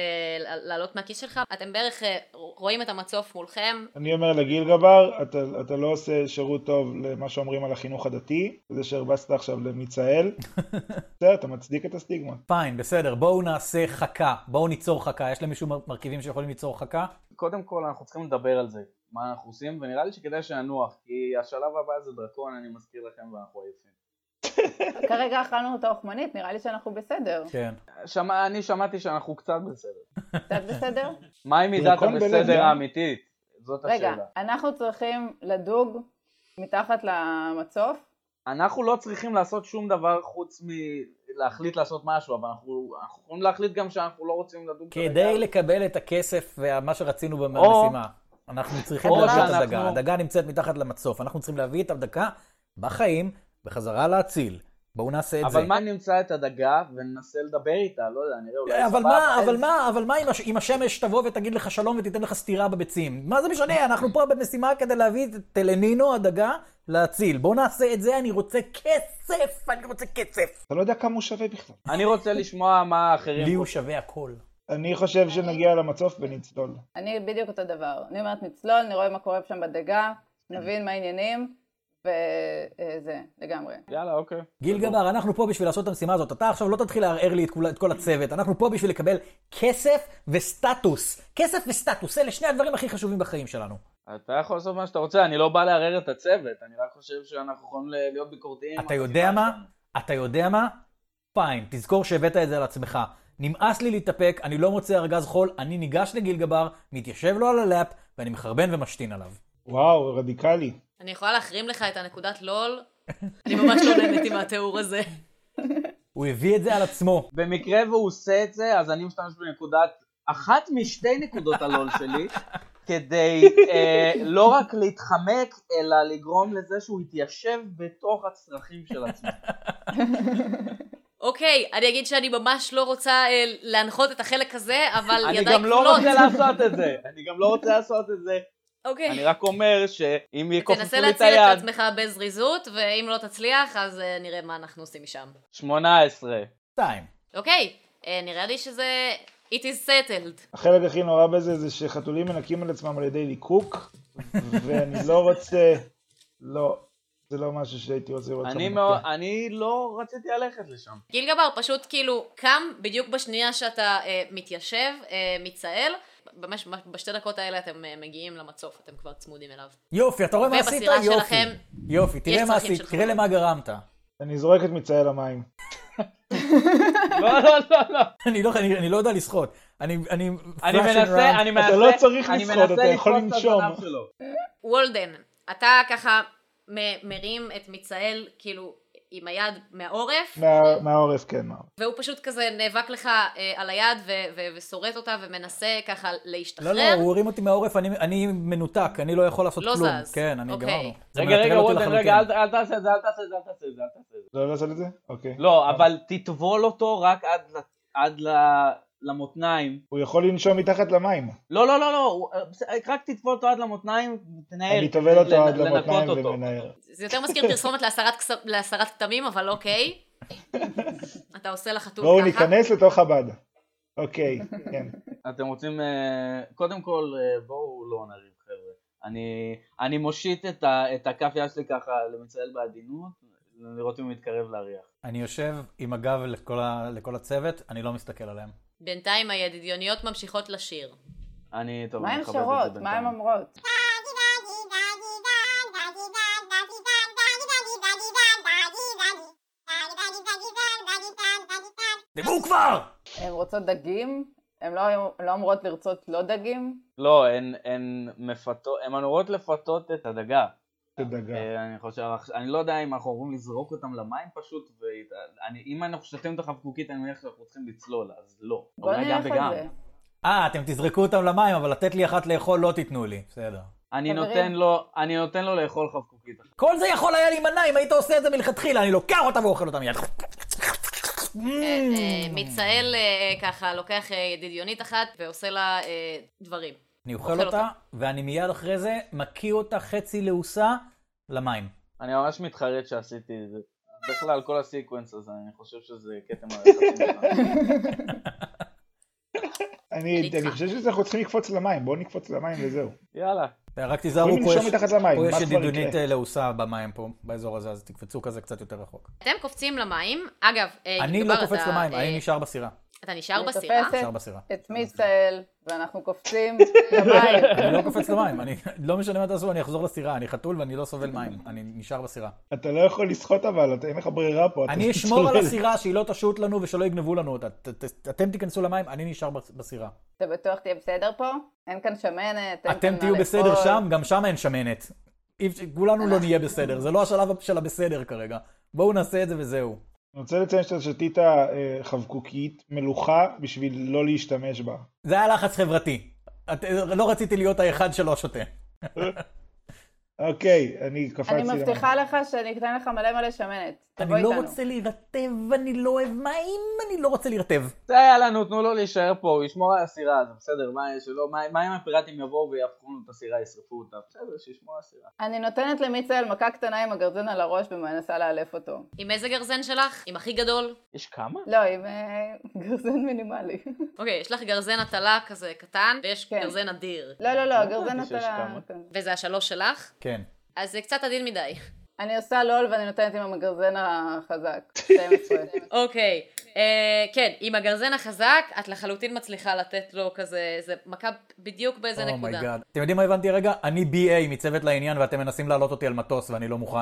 [SPEAKER 1] ל- לעלות מהכיס שלך. אתם בערך אה, רואים את המצוף מולכם.
[SPEAKER 3] אני אומר לגיל גבר, אתה, אתה לא עושה שירות טוב למה שאומרים על החינוך הדתי, זה שהרבצת עכשיו למיצאל. בסדר, אתה מצדיק את הסטיגמה.
[SPEAKER 2] פיין, בסדר, בואו נעשה חכה. בואו ניצור חכה. יש למישהו מר- מרכיבים שיכולים ליצור חכה?
[SPEAKER 4] קודם כל אנחנו צריכים לדבר על זה, מה אנחנו עושים, ונראה לי שכדאי שננוח, כי השלב הבא זה דרקון, אני מזכיר לכם, ואנחנו עייפים.
[SPEAKER 1] כן.
[SPEAKER 5] כרגע אכלנו את האוכמנית, נראה לי שאנחנו בסדר.
[SPEAKER 2] כן.
[SPEAKER 4] שמע, אני שמעתי שאנחנו קצת בסדר.
[SPEAKER 5] קצת בסדר?
[SPEAKER 4] מהי מידת
[SPEAKER 3] דרקון בלב לא?
[SPEAKER 4] הבסדר
[SPEAKER 3] ים.
[SPEAKER 4] האמיתית? זאת
[SPEAKER 5] רגע,
[SPEAKER 4] השאלה.
[SPEAKER 5] אנחנו צריכים לדוג מתחת למצוף?
[SPEAKER 4] אנחנו לא צריכים לעשות שום דבר חוץ מלהחליט לעשות משהו, אבל אנחנו, אנחנו יכולים להחליט גם שאנחנו לא רוצים לדון
[SPEAKER 2] כדי לקבל את הכסף ומה שרצינו
[SPEAKER 4] או-
[SPEAKER 2] במשימה, אנחנו צריכים
[SPEAKER 4] או
[SPEAKER 2] להביא את
[SPEAKER 4] שאנחנו-
[SPEAKER 2] הדגה. הדגה נמצאת מתחת למצוף, אנחנו צריכים להביא את הדגה בחיים, בחזרה להציל. בואו נעשה את זה.
[SPEAKER 4] אבל מה אם נמצא את הדגה וננסה לדבר איתה, לא יודע, נראה אולי
[SPEAKER 2] אבל מה, אבל מה, אבל מה אם הש- אם השמש תבוא ותגיד לך שלום ותיתן לך סטירה בביצים? מה זה משנה? אנחנו פה במשימה כדי להביא את טלנינו, הדגה, להציל. בואו נעשה את זה, אני רוצה כסף, אני רוצה כסף.
[SPEAKER 3] אתה לא יודע כמה הוא שווה בכלל.
[SPEAKER 4] אני רוצה לשמוע מה האחרים...
[SPEAKER 2] לי הוא שווה הכל.
[SPEAKER 3] אני
[SPEAKER 4] אה.
[SPEAKER 3] חושב שנגיע למצוף ונצלול.
[SPEAKER 5] אני בדיוק אותו דבר. אני אומרת נצלול, נראה מה קורה שם בדגה,
[SPEAKER 4] כן.
[SPEAKER 5] נבין מה העניינים, וזה, לגמרי.
[SPEAKER 4] יאללה, אוקיי.
[SPEAKER 2] גיל גבר, אנחנו פה בשביל לעשות את המשימה הזאת. אתה עכשיו לא תתחיל לערער לי את כל, את כל הצוות. אנחנו פה בשביל לקבל כסף וסטטוס. כסף וסטטוס, אלה שני הדברים הכי חשובים בחיים שלנו.
[SPEAKER 4] אתה יכול לעשות מה שאתה רוצה, אני לא בא לערער את הצוות, אני רק חושב שאנחנו יכולים ל- להיות ביקורתיים.
[SPEAKER 2] אתה יודע מה? אתה יודע מה? פיין, תזכור שהבאת את זה על עצמך. נמאס לי להתאפק, אני לא מוצא ארגז חול, אני ניגש לגיל גבר, מתיישב לו על הלאפ, ואני מחרבן ומשתין עליו.
[SPEAKER 3] וואו, רדיקלי.
[SPEAKER 1] אני יכולה להחרים לך את הנקודת לול? אני ממש לא נהניתי מהתיאור הזה.
[SPEAKER 2] הוא הביא את זה על עצמו.
[SPEAKER 4] במקרה והוא עושה את זה, אז אני משתמש בנקודת, אחת משתי נקודות הלול שלי, כדי אה, לא רק להתחמק, אלא לגרום לזה שהוא יתיישב בתוך הצרכים של עצמו.
[SPEAKER 1] אוקיי, אני אגיד שאני ממש לא רוצה אה, להנחות את החלק הזה, אבל ידיי
[SPEAKER 4] אני
[SPEAKER 1] כפולות.
[SPEAKER 4] גם לא רוצה לעשות את זה, אני גם לא רוצה לעשות את זה, אני
[SPEAKER 1] אוקיי.
[SPEAKER 4] רק אומר שאם יכופפו
[SPEAKER 1] תנסה
[SPEAKER 4] לי את
[SPEAKER 1] להציל את
[SPEAKER 4] היד,
[SPEAKER 1] עצמך בזריזות, ואם לא תצליח, אז אה, נראה מה אנחנו עושים משם.
[SPEAKER 4] 18.
[SPEAKER 2] שתיים.
[SPEAKER 1] אוקיי, אה, נראה לי שזה... It is settled.
[SPEAKER 3] החלק הכי נורא בזה זה שחתולים מנקים על עצמם על ידי ליקוק, ואני לא רוצה... לא, זה לא משהו שהייתי רוצה לראות.
[SPEAKER 4] אני
[SPEAKER 3] אותך
[SPEAKER 4] מאוד-
[SPEAKER 3] מנקה.
[SPEAKER 4] אני לא רציתי ללכת לשם.
[SPEAKER 1] גיל גבר פשוט כאילו קם בדיוק בשנייה שאתה אה, מתיישב, אה, מצהל. ממש ממש בשתי דקות האלה אתם אה, מגיעים למצוף, אתם כבר צמודים אליו.
[SPEAKER 2] יופי, אתה רואה מה עשית?
[SPEAKER 1] ובסירה
[SPEAKER 2] יופי.
[SPEAKER 1] שלכם
[SPEAKER 2] יופי, תראה מה
[SPEAKER 1] צרכים של
[SPEAKER 2] עשית, תראה
[SPEAKER 1] חתולים.
[SPEAKER 2] למה גרמת.
[SPEAKER 3] אני זורק את מצאי למים.
[SPEAKER 4] לא, לא, לא, לא.
[SPEAKER 2] אני לא- אני אני לא יודע לשחות. אני... אני
[SPEAKER 4] אני
[SPEAKER 2] flash and
[SPEAKER 4] מנסה,
[SPEAKER 2] run.
[SPEAKER 4] אני מנסה,
[SPEAKER 3] לא צריך
[SPEAKER 4] אני
[SPEAKER 3] לשחות,
[SPEAKER 4] מנסה
[SPEAKER 3] אתה יכול
[SPEAKER 4] לתפוס את
[SPEAKER 3] לנשום.
[SPEAKER 4] הזנב שלו.
[SPEAKER 1] וולדן, אתה ככה מ- מרים את מיצאל, כאילו, עם היד מהעורף,
[SPEAKER 3] מה- מהעורף כן, מהעורף.
[SPEAKER 1] והוא פשוט כזה נאבק לך אה, על היד ו- ו- ושורט אותה ומנסה ככה להשתחרר.
[SPEAKER 2] לא, לא, הוא הרים אותי מהעורף, אני- אני מנותק, אני לא יכול לעשות
[SPEAKER 1] לא
[SPEAKER 2] כלום.
[SPEAKER 1] זז.
[SPEAKER 2] כן, אני
[SPEAKER 1] אוקיי.
[SPEAKER 2] גמרנו. זה
[SPEAKER 4] רגע,
[SPEAKER 2] מנטרל
[SPEAKER 4] רגע,
[SPEAKER 2] אותי
[SPEAKER 4] וולדן,
[SPEAKER 2] לחלוטין.
[SPEAKER 4] רגע, אל אל תעשה את זה, אל תעשה את זה, אל תעשה את זה, אל תעשה את זה.
[SPEAKER 3] לא לעשות את זה? אוקיי.
[SPEAKER 4] לא, אבל תטבול אותו רק עד ל- עד ל- למותניים.
[SPEAKER 3] הוא יכול לנשום מתחת למים.
[SPEAKER 4] לא, לא, לא, לא, הוא- אה, רק תטבול אותו עד למותניים, תנער.
[SPEAKER 3] אני טובל אותו
[SPEAKER 4] לנ-
[SPEAKER 3] עד
[SPEAKER 4] לנקות
[SPEAKER 3] למותניים
[SPEAKER 4] אותו.
[SPEAKER 3] ומנער.
[SPEAKER 1] זה יותר מזכיר פרסומת להסרת כס- להסרת כתמים, אבל אוקיי. אתה עושה לחתול
[SPEAKER 3] בואו
[SPEAKER 1] ככה.
[SPEAKER 3] ניכנס לתוך הבד. אוקיי, כן.
[SPEAKER 4] אתם רוצים, אה, קודם כל, אה, בואו לא נריב חבר'ה. אני, אני מושיט את, ה, את הכף יד שלי ככה למצאל בעדינות, לראות אם הוא מתקרב להריח.
[SPEAKER 2] אני יושב עם הגב לכל ה- לכל הצוות, אני לא מסתכל עליהם.
[SPEAKER 1] בינתיים הידידיוניות ממשיכות לשיר.
[SPEAKER 4] אני, טוב,
[SPEAKER 5] מה
[SPEAKER 4] אני
[SPEAKER 5] הן
[SPEAKER 4] מכבד את זה
[SPEAKER 5] שרות? מה
[SPEAKER 4] בינתיים.
[SPEAKER 5] הן אומרות?
[SPEAKER 2] דיברו כבר!
[SPEAKER 5] הן רוצות דגים? הן לא, לא אומרות לרצות לא דגים?
[SPEAKER 4] לא, הן, הן מפתות, הן אמורות לפתות את הדגה.
[SPEAKER 3] תדאגה.
[SPEAKER 4] אה, אני חושב, אני לא יודע אם אנחנו אמורים לזרוק אותם למים פשוט, ואם אנחנו שותים את החבקוקית אני מניח שאנחנו צריכים לצלול, אז לא.
[SPEAKER 5] בוא
[SPEAKER 4] אולי גם
[SPEAKER 5] נלך
[SPEAKER 4] וגם.
[SPEAKER 5] על זה.
[SPEAKER 2] אה, אתם תזרקו אותם למים, אבל לתת לי אחת לאכול לא תיתנו לי. בסדר.
[SPEAKER 4] אני
[SPEAKER 5] חברים.
[SPEAKER 4] נותן לו, אני נותן לו לאכול חבקוקית אחת.
[SPEAKER 2] כל זה יכול היה להימנע אם היית עושה את זה מלכתחילה, אני לוקח אותה ואוכל אותה מיד.
[SPEAKER 1] אה, אה, מיצאל אה, ככה לוקח אה, ידידיונית אחת ועושה לה אה, דברים.
[SPEAKER 2] אני אוכל אותה, ואני מיד אחרי זה מקיא אותה חצי לעוסה למים.
[SPEAKER 4] אני ממש מתחרט שעשיתי את זה. בכלל, כל הסיקוונס הזה, אני חושב שזה כתם על החצי
[SPEAKER 3] אני
[SPEAKER 1] אני
[SPEAKER 3] אני חושב שאנחנו צריכים לקפוץ למים, בואו נקפוץ למים וזהו.
[SPEAKER 4] יאללה.
[SPEAKER 2] רק תיזהרו,
[SPEAKER 3] יכולים
[SPEAKER 2] פה
[SPEAKER 3] לנשום
[SPEAKER 2] יש-
[SPEAKER 3] מתחת למים,
[SPEAKER 2] פה
[SPEAKER 3] מה
[SPEAKER 2] יש
[SPEAKER 3] כבר
[SPEAKER 2] ידידונית
[SPEAKER 3] יקרה?
[SPEAKER 2] אה, לעוסה במים פה, באזור הזה, אז תקפצו כזה קצת יותר רחוק.
[SPEAKER 1] אתם קופצים למים, אגב, אה,
[SPEAKER 2] אני
[SPEAKER 1] מדובר,
[SPEAKER 2] לא קופץ
[SPEAKER 1] אתה,
[SPEAKER 2] למים,
[SPEAKER 1] אה,
[SPEAKER 2] אני נשאר בסירה.
[SPEAKER 1] אתה נשאר אה?
[SPEAKER 5] אני
[SPEAKER 1] בסירה?
[SPEAKER 5] תופסת.
[SPEAKER 2] נשאר בסירה.
[SPEAKER 5] את מיצאל, ואנחנו קופצים למים.
[SPEAKER 2] אני לא קופץ למים, אני לא משנה מה תעשו, אני אחזור לסירה, אני חתול ואני לא סובל מים, אני נשאר בסירה.
[SPEAKER 3] אתה לא יכול לשחות אבל, אתה- אין לך ברירה פה. אתה
[SPEAKER 2] אני אשמור על
[SPEAKER 3] צולל.
[SPEAKER 2] הסירה שהיא לא תשוט לנו ושלא יגנבו לנו אותה. ת- ת- אתם תיכנסו למים, אני נשאר בס- בסירה.
[SPEAKER 5] אתה בטוח תהיה בסדר פה? אין כאן שמנת, אין כאן
[SPEAKER 2] אתם
[SPEAKER 5] מה
[SPEAKER 2] תהיו בסדר
[SPEAKER 5] לאכול.
[SPEAKER 2] שם, גם שם אין שמנת. אי אפשר- כולנו לא נהיה בסדר, זה לא השלב של הבסדר כרגע. בואו נעשה את זה וזהו.
[SPEAKER 3] אני רוצה לציין שאתה שתית אה, חבקוקית מלוכה בשביל לא להשתמש בה.
[SPEAKER 2] זה היה לחץ חברתי. את- לא רציתי להיות האחד שלא שותה.
[SPEAKER 3] אוקיי, אני קפצתי.
[SPEAKER 5] אני
[SPEAKER 3] למים.
[SPEAKER 5] מבטיחה לך שאני אתן לך מלא מלא שמנת. תבוא
[SPEAKER 2] אני לא
[SPEAKER 5] איתנו.
[SPEAKER 2] רוצה להירטב, אני לא אוהב מים, אני לא רוצה להירטב.
[SPEAKER 4] זה היה לנו, תנו לו להישאר פה, הוא ישמור על הסירה, זה בסדר, מה יש לו, מה- מה אם הפיראטים יבואו ויהפכו לנו את הסירה, ישרפו אותה, בסדר, שישמור על הסירה.
[SPEAKER 5] אני נותנת למיצאל מכה קטנה עם הגרזן על הראש ומנסה לאלף אותו.
[SPEAKER 1] עם איזה גרזן שלך? עם הכי גדול?
[SPEAKER 4] יש כמה?
[SPEAKER 5] לא, עם אה, גרזן מינימלי.
[SPEAKER 1] אוקיי, יש לך גרזן הטלה כזה קטן, ויש
[SPEAKER 5] כן.
[SPEAKER 1] גרזן אדיר.
[SPEAKER 5] לא, לא, לא,
[SPEAKER 4] ידעתי
[SPEAKER 5] גרזן
[SPEAKER 4] שיש
[SPEAKER 5] נטלה.
[SPEAKER 4] כמה.
[SPEAKER 1] וזה השלוש שלך?
[SPEAKER 2] כן.
[SPEAKER 1] אז זה קצת עדין מדי.
[SPEAKER 5] אני עושה לול ואני נותנת עם הגרזן החזק. 12.
[SPEAKER 1] אוקיי, אה, כן, עם הגרזן החזק, את לחלוטין מצליחה לתת לו כזה, זה מכה בדיוק
[SPEAKER 2] Oh
[SPEAKER 1] באיזה נקודה.
[SPEAKER 2] אומייגאד. אתם יודעים מה הבנתי הרגע? אני BA מצוות לעניין ואתם מנסים להעלות אותי על מטוס ואני לא מוכן.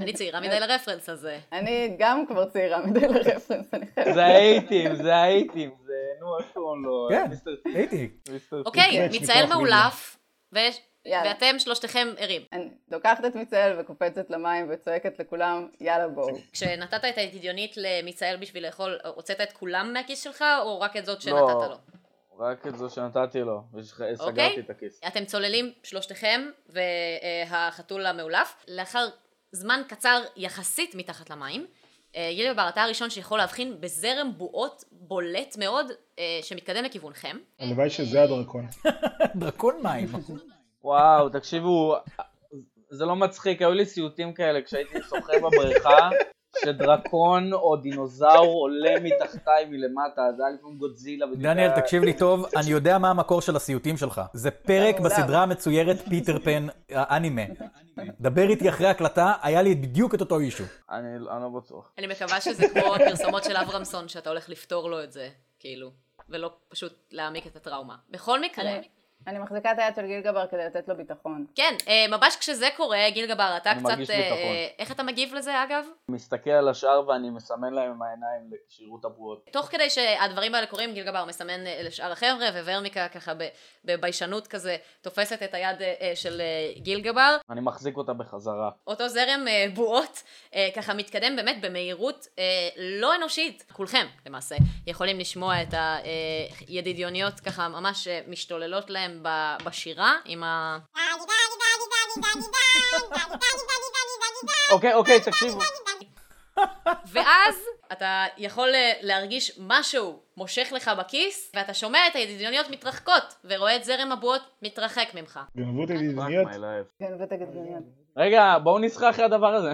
[SPEAKER 1] אני צעירה מדי לרפרנס הזה.
[SPEAKER 5] אני גם כבר צעירה מדי לרפרנס, אני חייבת.
[SPEAKER 4] זה האייטים, זה האייטים, זה, נו, איך קוראים לו?
[SPEAKER 2] כן,
[SPEAKER 4] מיסטר טי,
[SPEAKER 2] הייתי.
[SPEAKER 4] מיסטר טי.
[SPEAKER 1] אוקיי,
[SPEAKER 3] מתרץ
[SPEAKER 1] מיצאל
[SPEAKER 3] מכוח
[SPEAKER 1] מאולף, ויש-
[SPEAKER 5] יאללה.
[SPEAKER 1] ואתם שלושתכם ערים.
[SPEAKER 5] אני לוקחת את מיצאל וקופצת למים וצועקת לכולם, יאללה בואו.
[SPEAKER 1] כשנתת את הידידיונית למיצאל בשביל לאכול, הוצאת את כולם מהכיס שלך, או רק את זאת
[SPEAKER 4] לא.
[SPEAKER 1] שנתת לו?
[SPEAKER 4] רק את זו שנתתי לו, וסגרתי
[SPEAKER 1] אוקיי.
[SPEAKER 4] את הכיס.
[SPEAKER 1] אתם צוללים שלושתכם והחתול המאולף. לאחר זמן קצר יחסית מתחת למים, אה, גילי בר, אתה הראשון שיכול להבחין בזרם בועות בולט מאוד אה, שמתקדם לכיוונכם.
[SPEAKER 3] הלוואי שזה הדרקון.
[SPEAKER 2] דרקון מים.
[SPEAKER 4] וואו, תקשיבו, זה לא מצחיק, היו לי סיוטים כאלה כשהייתי שוחה בבריכה, שדרקון או דינוזאור עולה מתחתיי מלמטה, אז היה לפעמים גודזילה. בדיוק
[SPEAKER 2] דניאל,
[SPEAKER 1] אה,
[SPEAKER 4] היה-
[SPEAKER 2] תקשיב לי טוב, אני יודע מה המקור של הסיוטים שלך. זה פרק
[SPEAKER 1] אה,
[SPEAKER 5] מעולם.
[SPEAKER 2] בסדרה המצוירת פיטר פן, האנימה. דבר איתי אחרי הקלטה, היה לי בדיוק את אותו אישו.
[SPEAKER 4] אני אני לא בטוח.
[SPEAKER 1] אני מקווה שזה כמו הפרסומות של אברמסון, שאתה הולך לפתור לו את זה, כאילו, ולא פשוט להעמיק את הטראומה. בכל מקרה,
[SPEAKER 5] אני מחזיקה את היד של גיל גבר כדי לתת לו ביטחון.
[SPEAKER 1] כן, אה, ממש כשזה קורה, גיל גבר, אתה
[SPEAKER 4] אני מרגיש
[SPEAKER 1] קצת... אה,
[SPEAKER 4] ביטחון.
[SPEAKER 1] אה, איך אתה מגיב לזה, אגב?
[SPEAKER 4] מסתכל על השאר ואני מסמן להם עם העיניים לכשירות הבועות.
[SPEAKER 1] תוך כדי שהדברים האלה קורים, גיל גבר מסמן אה, לשאר החבר'ה, וורמיקה ככה ב- בביישנות כזה תופסת את היד אה, אה, של אה, גיל גבר.
[SPEAKER 4] אני מחזיק אותה בחזרה.
[SPEAKER 1] אותו זרם אה, בועות אה, ככה מתקדם באמת במהירות אה, לא אנושית. כולכם למעשה יכולים לשמוע את הידידיוניות ככה ממש אה, משתוללות להם ב- בשירה עם ה...
[SPEAKER 4] אוקיי, אוקיי, תקשיבו.
[SPEAKER 1] ואז אתה יכול אה, להרגיש משהו מושך לך בכיס ואתה שומע את הידידיוניות מתרחקות ורואה את זרם הבועות מתרחק ממך.
[SPEAKER 3] גנבו את
[SPEAKER 4] Fuck
[SPEAKER 3] הידידניות.
[SPEAKER 4] my life.
[SPEAKER 5] כן, ותגדלניות.
[SPEAKER 4] רגע, בואו נסחה אחרי הדבר הזה.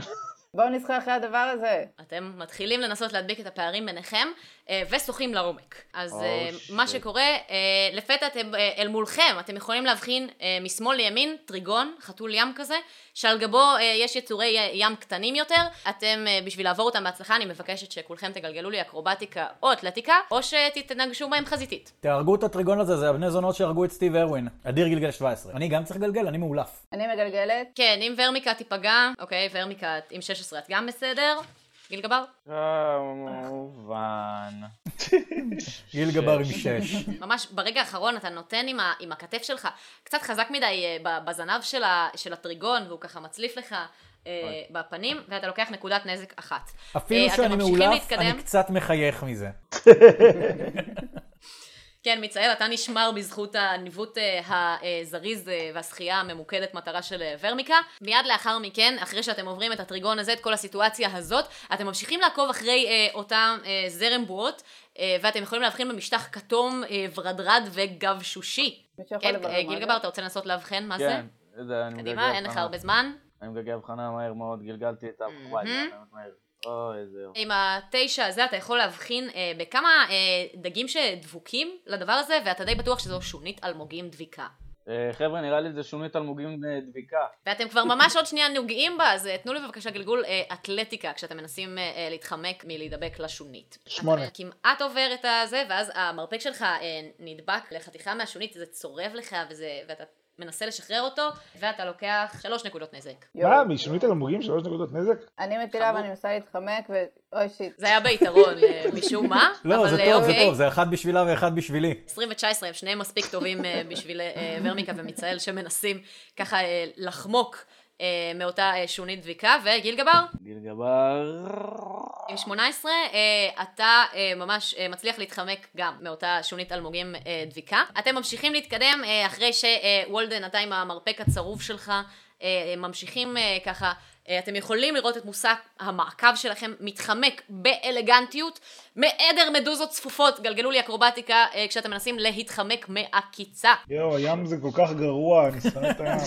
[SPEAKER 5] בואו נסחר אחרי הדבר הזה.
[SPEAKER 1] אתם מתחילים לנסות להדביק את הפערים ביניכם אה, ושוחים לעומק. אז
[SPEAKER 4] Oh,
[SPEAKER 1] אה, מה
[SPEAKER 4] shit.
[SPEAKER 1] שקורה, אה, לפתע אתם אה, אל מולכם, אתם יכולים להבחין אה, משמאל לימין טריגון, חתול ים כזה, שעל גבו אה, יש יצורי אה, ים קטנים יותר. אתם, אה, בשביל לעבור אותם בהצלחה, אני מבקשת שכולכם תגלגלו לי אקרובטיקה או אתלטיקה, או שתתנגשו בהם חזיתית.
[SPEAKER 2] תהרגו את הטריגון הזה, זה הבני זונות שהרגו את סטיב הרווין. אדיר גלגל 17. אני גם צריך לגלגל, אני מאולף.
[SPEAKER 5] אני מגלגלת,
[SPEAKER 1] כן, אם ורמיקה תיפגע, אוקיי, ורמיקה עם 16 את גם בסדר. גיל גבר?
[SPEAKER 4] כמובן.
[SPEAKER 2] גיל
[SPEAKER 4] שש.
[SPEAKER 2] גבר עם 6.
[SPEAKER 1] ממש ברגע האחרון אתה נותן עם, ה, עם הכתף שלך קצת חזק מדי אה, ב- בזנב של, ה, של הטריגון והוא ככה מצליף לך אה, בפנים ואתה לוקח נקודת נזק אחת.
[SPEAKER 2] אפילו
[SPEAKER 1] אה, אתם
[SPEAKER 2] שאני
[SPEAKER 1] ממשיכים
[SPEAKER 2] מאולף,
[SPEAKER 1] להתקדם?
[SPEAKER 2] אני קצת מחייך מזה.
[SPEAKER 1] כן, מצער, אתה נשמר בזכות הניווט אה, הזריז אה, והשחייה הממוקדת מטרה של אה, ורמיקה. מיד לאחר מכן, אחרי שאתם עוברים את הטריגון הזה, את כל הסיטואציה הזאת, אתם ממשיכים לעקוב אחרי אה, אותם אה, זרם בועות, אה, ואתם יכולים להבחין במשטח כתום, אה, ורדרד וגב שושי.
[SPEAKER 5] מישהו יכול
[SPEAKER 1] כן,
[SPEAKER 5] לברר
[SPEAKER 1] אה,
[SPEAKER 5] מה
[SPEAKER 1] גיל
[SPEAKER 5] זה?
[SPEAKER 1] גבר, אתה רוצה לנסות לאבחן מה זה?
[SPEAKER 4] כן, זה אני מגלגל.
[SPEAKER 1] קדימה, אין לך
[SPEAKER 4] הבחנה.
[SPEAKER 1] הרבה זמן.
[SPEAKER 4] אני מגלגל הבחנה מהר מאוד, גלגלתי את ה... וואי, זה היה באמת מהר. אוי, איזה... יופי.
[SPEAKER 1] עם התשע הזה אתה יכול להבחין אה, בכמה אה, דגים שדבוקים לדבר הזה, ואתה די בטוח שזו שונית אלמוגים דביקה.
[SPEAKER 4] אה, חבר'ה, נראה לי זה שונית אלמוגים אה, דביקה.
[SPEAKER 1] ואתם כבר ממש עוד שנייה נוגעים בה, אז אה, תנו לי בבקשה גלגול אה, אתלטיקה, כשאתם מנסים אה, אה, להתחמק מלהידבק לשונית.
[SPEAKER 3] שמונה.
[SPEAKER 1] אתה כמעט עובר את הזה, ואז המרפק שלך אה, נדבק לחתיכה מהשונית, זה צורב לך, וזה, ואתה מנסה לשחרר אותו, ואתה לוקח שלוש נקודות נזק.
[SPEAKER 5] יואו.
[SPEAKER 3] מה, משונית אלמוגים שלוש נקודות נזק?
[SPEAKER 5] אני מטילה ואני מנסה להתחמק, ו... אוי שיט.
[SPEAKER 1] זה היה ביתרון אה, משום מה,
[SPEAKER 2] לא,
[SPEAKER 1] אבל,
[SPEAKER 2] זה
[SPEAKER 1] אה,
[SPEAKER 2] טוב, זה
[SPEAKER 1] אוקיי.
[SPEAKER 2] טוב, זה אחד בשבילה ואחד בשבילי.
[SPEAKER 1] 20 ו-19 הם שניהם מספיק טובים אה, בשביל אה, ורמיקה ומיצאל שמנסים ככה אה, לחמוק אה, מאותה אה, שונית דביקה, וגיל גבר
[SPEAKER 4] גלגבר...
[SPEAKER 1] עם 18 אה, אתה אה, ממש אה, מצליח להתחמק גם מאותה שונית אלמוגים אה, דביקה. אתם ממשיכים להתקדם אה, אחרי שוולדן אתה עם המרפק הצרוב שלך אה, ממשיכים אה, ככה אה, אתם יכולים לראות את מושג המעקב שלכם מתחמק באלגנטיות מעדר מדוזות צפופות גלגלו לי אקרובטיקה אה, כשאתם מנסים להתחמק מעקיצה
[SPEAKER 3] יואו, הים זה כל כך גרוע, אני שונא את הים.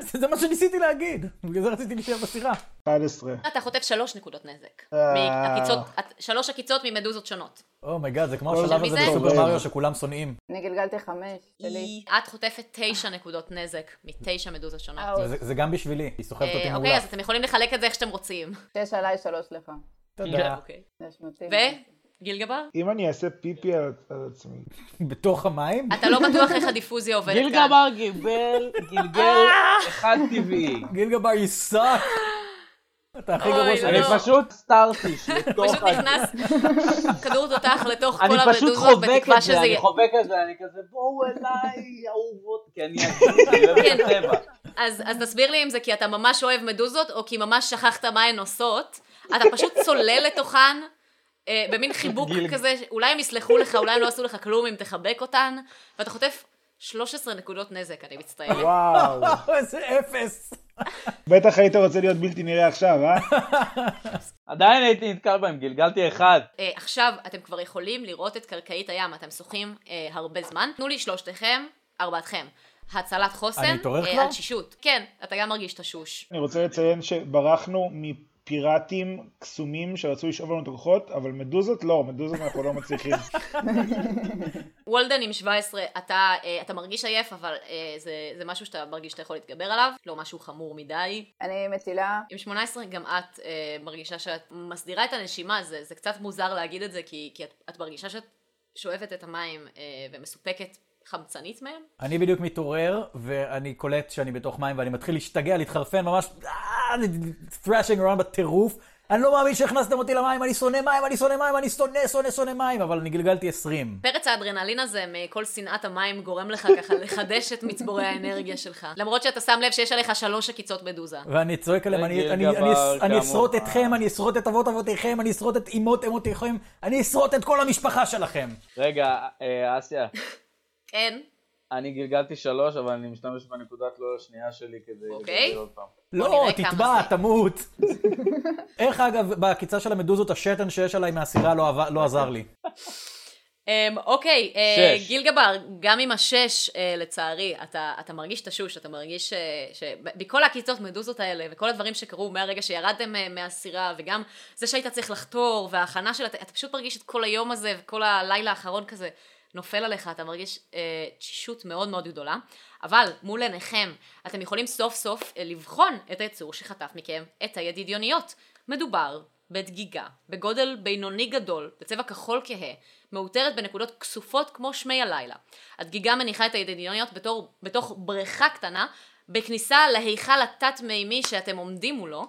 [SPEAKER 2] זה מה שניסיתי להגיד, בגלל זה רציתי להישאר בשיחה.
[SPEAKER 3] 11.
[SPEAKER 1] אתה חוטף שלוש נקודות נזק.
[SPEAKER 3] אה.
[SPEAKER 1] מעקיצות, את- שלוש עקיצות ממדוזות שונות.
[SPEAKER 2] אומייגאד, זה כמו
[SPEAKER 3] כל
[SPEAKER 2] השלב
[SPEAKER 1] מי
[SPEAKER 2] הזה
[SPEAKER 1] זה?
[SPEAKER 2] בסופר
[SPEAKER 3] טוב.
[SPEAKER 2] מריו שכולם שונאים.
[SPEAKER 5] אני גלגלתי חמש, שלי.
[SPEAKER 1] את חוטפת תשע נקודות נזק מתשע מדוזות שונות.
[SPEAKER 5] אה, אוקיי.
[SPEAKER 2] זה זה גם בשבילי, היא סוחבת אותי
[SPEAKER 1] אה, אוקיי, אז
[SPEAKER 2] מאולף.
[SPEAKER 1] אתם יכולים לחלק את זה איך שאתם רוצים.
[SPEAKER 5] שש עליי, שלוש לך.
[SPEAKER 2] תודה.
[SPEAKER 1] אוקיי.
[SPEAKER 5] נשמתי.
[SPEAKER 1] וגיל גבר?
[SPEAKER 3] אם אני אעשה פיפי על על עצמי,
[SPEAKER 2] בתוך המים?
[SPEAKER 1] אתה לא בטוח איך הדיפוזיה עובדת
[SPEAKER 4] גיל
[SPEAKER 1] כאן. אה!
[SPEAKER 4] גבר גיבל, גלגל אחד טבעי.
[SPEAKER 2] גיל גבאי יסק! אתה הכי גרוע
[SPEAKER 1] אוי,
[SPEAKER 4] אני
[SPEAKER 2] שאני...
[SPEAKER 1] לא.
[SPEAKER 4] פשוט סטארטיש לתוך
[SPEAKER 1] פשוט נכנס כדור תותח לתוך
[SPEAKER 4] לא אני
[SPEAKER 1] כל
[SPEAKER 4] פשוט
[SPEAKER 1] המדוזות
[SPEAKER 4] חובק
[SPEAKER 1] בתקווה
[SPEAKER 4] את זה,
[SPEAKER 1] שזה
[SPEAKER 4] אני
[SPEAKER 1] יהיה.
[SPEAKER 4] חובק את זה, אני כזה בואו אליי, אהובות, כי אני אגיד, אני אוהב את
[SPEAKER 1] כן.
[SPEAKER 4] הטבע.
[SPEAKER 1] אז אז תסביר לי אם זה כי אתה ממש אוהב מדוזות, או כי ממש שכחת מה הן עושות. אתה פשוט צולל לתוכן. אה, במין חיבוק
[SPEAKER 4] גיל-
[SPEAKER 1] כזה, אולי הם יסלחו לך, אולי הם לא עשו לך כלום אם תחבק אותן, ואתה חוטף 13 נקודות נזק, אני מצטערת.
[SPEAKER 3] וואו.
[SPEAKER 2] איזה אפס!
[SPEAKER 3] בטח היית רוצה להיות בלתי נראה עכשיו, אה?
[SPEAKER 4] עדיין הייתי נתקל בהם, גלגלתי אחד.
[SPEAKER 1] אה, עכשיו אתם כבר יכולים לראות את קרקעית הים, אתם שוחים אה, הרבה זמן. תנו לי שלושתכם, ארבעתכם. הצלת חוסן,
[SPEAKER 2] אני אתעורר
[SPEAKER 1] אה,
[SPEAKER 2] כבר?
[SPEAKER 1] תשישות. כן, אתה גם מרגיש תשוש.
[SPEAKER 3] אני רוצה לציין שברחנו מפיראטים קסומים שרצו לשאוב לנו את הכוחות, אבל מדוזות לא, מדוזות אנחנו לא מצליחים.
[SPEAKER 1] וולדן עם 17, אתה, אה, אתה מרגיש עייף, אבל אה, זה, זה משהו שאתה מרגיש שאתה יכול להתגבר עליו, לא משהו חמור מדי.
[SPEAKER 5] אני מטילה,
[SPEAKER 1] עם 18 גם את אה, מרגישה שאת מסדירה את הנשימה, זה, זה קצת מוזר להגיד את זה, כי, כי את, את מרגישה שאת שואבת את המים אה, ומסופקת חמצנית מהם?
[SPEAKER 2] אני בדיוק מתעורר, ואני קולט שאני בתוך מים, ואני מתחיל להשתגע, להתחרפן, ממש אה, thrashing around בטירוף. אני לא מאמין שהכנסתם אותי למים, אני שונא מים, אני שונא מים, אני שונא, שונא, שונא מים, אבל אני גלגלתי 20.
[SPEAKER 1] פרץ האדרנלין הזה מכל שנאת המים גורם לך ככה לחדש את מצבורי האנרגיה שלך. למרות שאתה שם לב שיש עליך שלוש עקיצות בדוזה.
[SPEAKER 2] ואני צועק עליהם, אני-
[SPEAKER 4] רגל
[SPEAKER 2] אני-
[SPEAKER 4] גבר,
[SPEAKER 2] אני אס- אני
[SPEAKER 4] כאמור.
[SPEAKER 2] אשרוט אתכם, אני אשרוט את אבות אבותיכם, אני אשרוט את אמות אמותיכם, אני אשרוט את כל המשפחה שלכם.
[SPEAKER 4] רגע, אה, אסיה,
[SPEAKER 1] כן.
[SPEAKER 4] אני גלגלתי שלוש, אבל אני משתמש בנקודת לא השנייה שלי כדי
[SPEAKER 1] אוקיי.
[SPEAKER 4] לגלגל עוד פעם.
[SPEAKER 2] לא,
[SPEAKER 1] נראה כמה
[SPEAKER 2] תטבע,
[SPEAKER 1] זה.
[SPEAKER 2] תמות. איך אגב, בעקיצה של המדוזות, השתן שיש עליי מהסירה לא עבר- לא עזר לי.
[SPEAKER 1] אמ, אוקיי, אה,
[SPEAKER 4] שש.
[SPEAKER 1] גיל גבר, גם עם השש, אה, לצערי, אתה, אתה מרגיש תשוש, אתה מרגיש אה, שבכל העקיצות מדוזות האלה, וכל הדברים שקרו מהרגע שירדתם אה, מהסירה, וגם זה שהיית צריך לחתור, וההכנה של... אתה פשוט מרגיש את כל היום הזה, וכל הלילה האחרון כזה נופל עליך, אתה מרגיש אה, תשישות מאוד מאוד גדולה. אבל מול עיניכם, אתם יכולים סוף סוף אה, לבחון את היצור שחטף מכם את הידידיוניות. מדובר בדגיגה, בגודל בינוני גדול, בצבע כחול כהה, מאותרת בנקודות כסופות כמו שמי הלילה. הדגיגה מניחה את הידידיוניות בתור, בתוך בריכה קטנה, בכניסה להיכל התת-מימי שאתם עומדים מולו,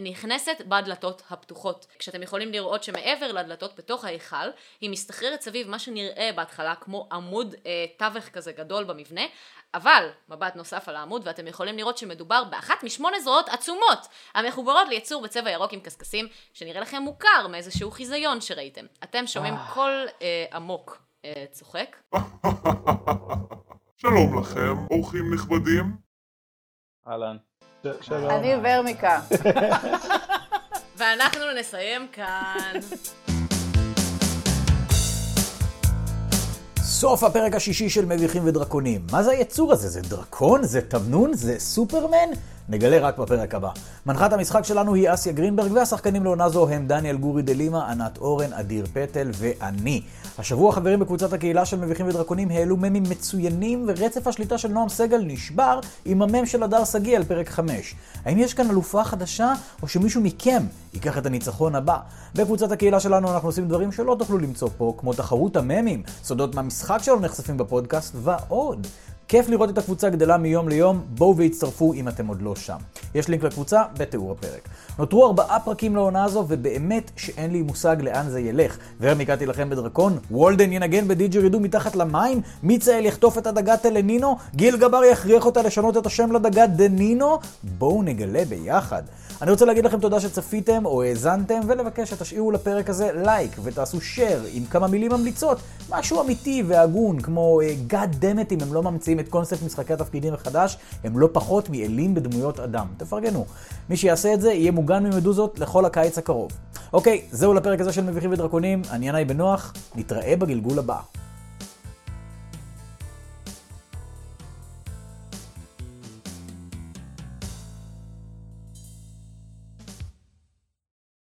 [SPEAKER 1] ונכנסת בדלתות הפתוחות. כשאתם יכולים לראות שמעבר לדלתות בתוך ההיכל, היא מסתחררת סביב מה שנראה בהתחלה כמו עמוד אה, תווך כזה גדול במבנה, אבל מבט נוסף על העמוד ואתם יכולים לראות שמדובר באחת משמונה זרועות עצומות המחוברות ליצור בצבע ירוק עם קשקשים, שנראה לכם מוכר מאיזשהו חיזיון שראיתם. אתם שומעים קול אה, עמוק אה, צוחק.
[SPEAKER 6] שלום לכם, אורחים נכבדים.
[SPEAKER 4] אהלן.
[SPEAKER 3] ש- שלום.
[SPEAKER 5] אני ורמיקה.
[SPEAKER 1] ואנחנו נסיים כאן.
[SPEAKER 2] סוף הפרק השישי של מביכים ודרקונים. מה זה היצור הזה? זה דרקון? זה תמנון? זה סופרמן? נגלה רק בפרק הבא. מנחת המשחק שלנו היא אסיה גרינברג, והשחקנים לעונה זו הם דניאל גורי דלימה, ענת אורן, אדיר פטל ואני. השבוע חברים בקבוצת הקהילה של מביכים ודרקונים העלו ממים מצוינים, ורצף השליטה של נועם סגל נשבר עם המם של הדר שגיא על פרק 5. האם יש כאן אלופה חדשה, או שמישהו מכם ייקח את הניצחון הבא? בקבוצת הקהילה שלנו אנחנו עושים דברים שלא תוכלו למצוא פה, כמו תחרות הממים, סודות מהמשחק שלא נחשפים בפודקאסט ועוד. כיף לראות את הקבוצה גדלה מיום ליום, בואו והצטרפו אם אתם עוד לא שם. יש לינק לקבוצה בתיאור הפרק. נותרו ארבעה פרקים לעונה הזו, ובאמת שאין לי מושג לאן זה ילך. ורמיקה תילחם בדרקון, וולדן ינגן בדיג'רידו מתחת למים, מיצאל יחטוף את הדגה טלנינו, גיל גבר יכריח אותה לשנות את השם לדגה דנינו, בואו נגלה ביחד. אני רוצה להגיד לכם תודה שצפיתם או האזנתם, ולבקש שתשאירו לפרק הזה לייק ותעשו share עם כמה מילים ממליצות, משהו אמיתי והגון, כמו אה, God damn it אם הם לא ממציאים את קונספט משחקי התפקידים מחדש, הם לא פחות מאלים בדמויות אדם. תפרגנו. מי שיעשה את זה יהיה מוגן ממדוזות לכל הקיץ הקרוב. אוקיי, זהו לפרק הזה של מביכים ודרקונים, אני ינאי בנוח, נתראה בגלגול הבא.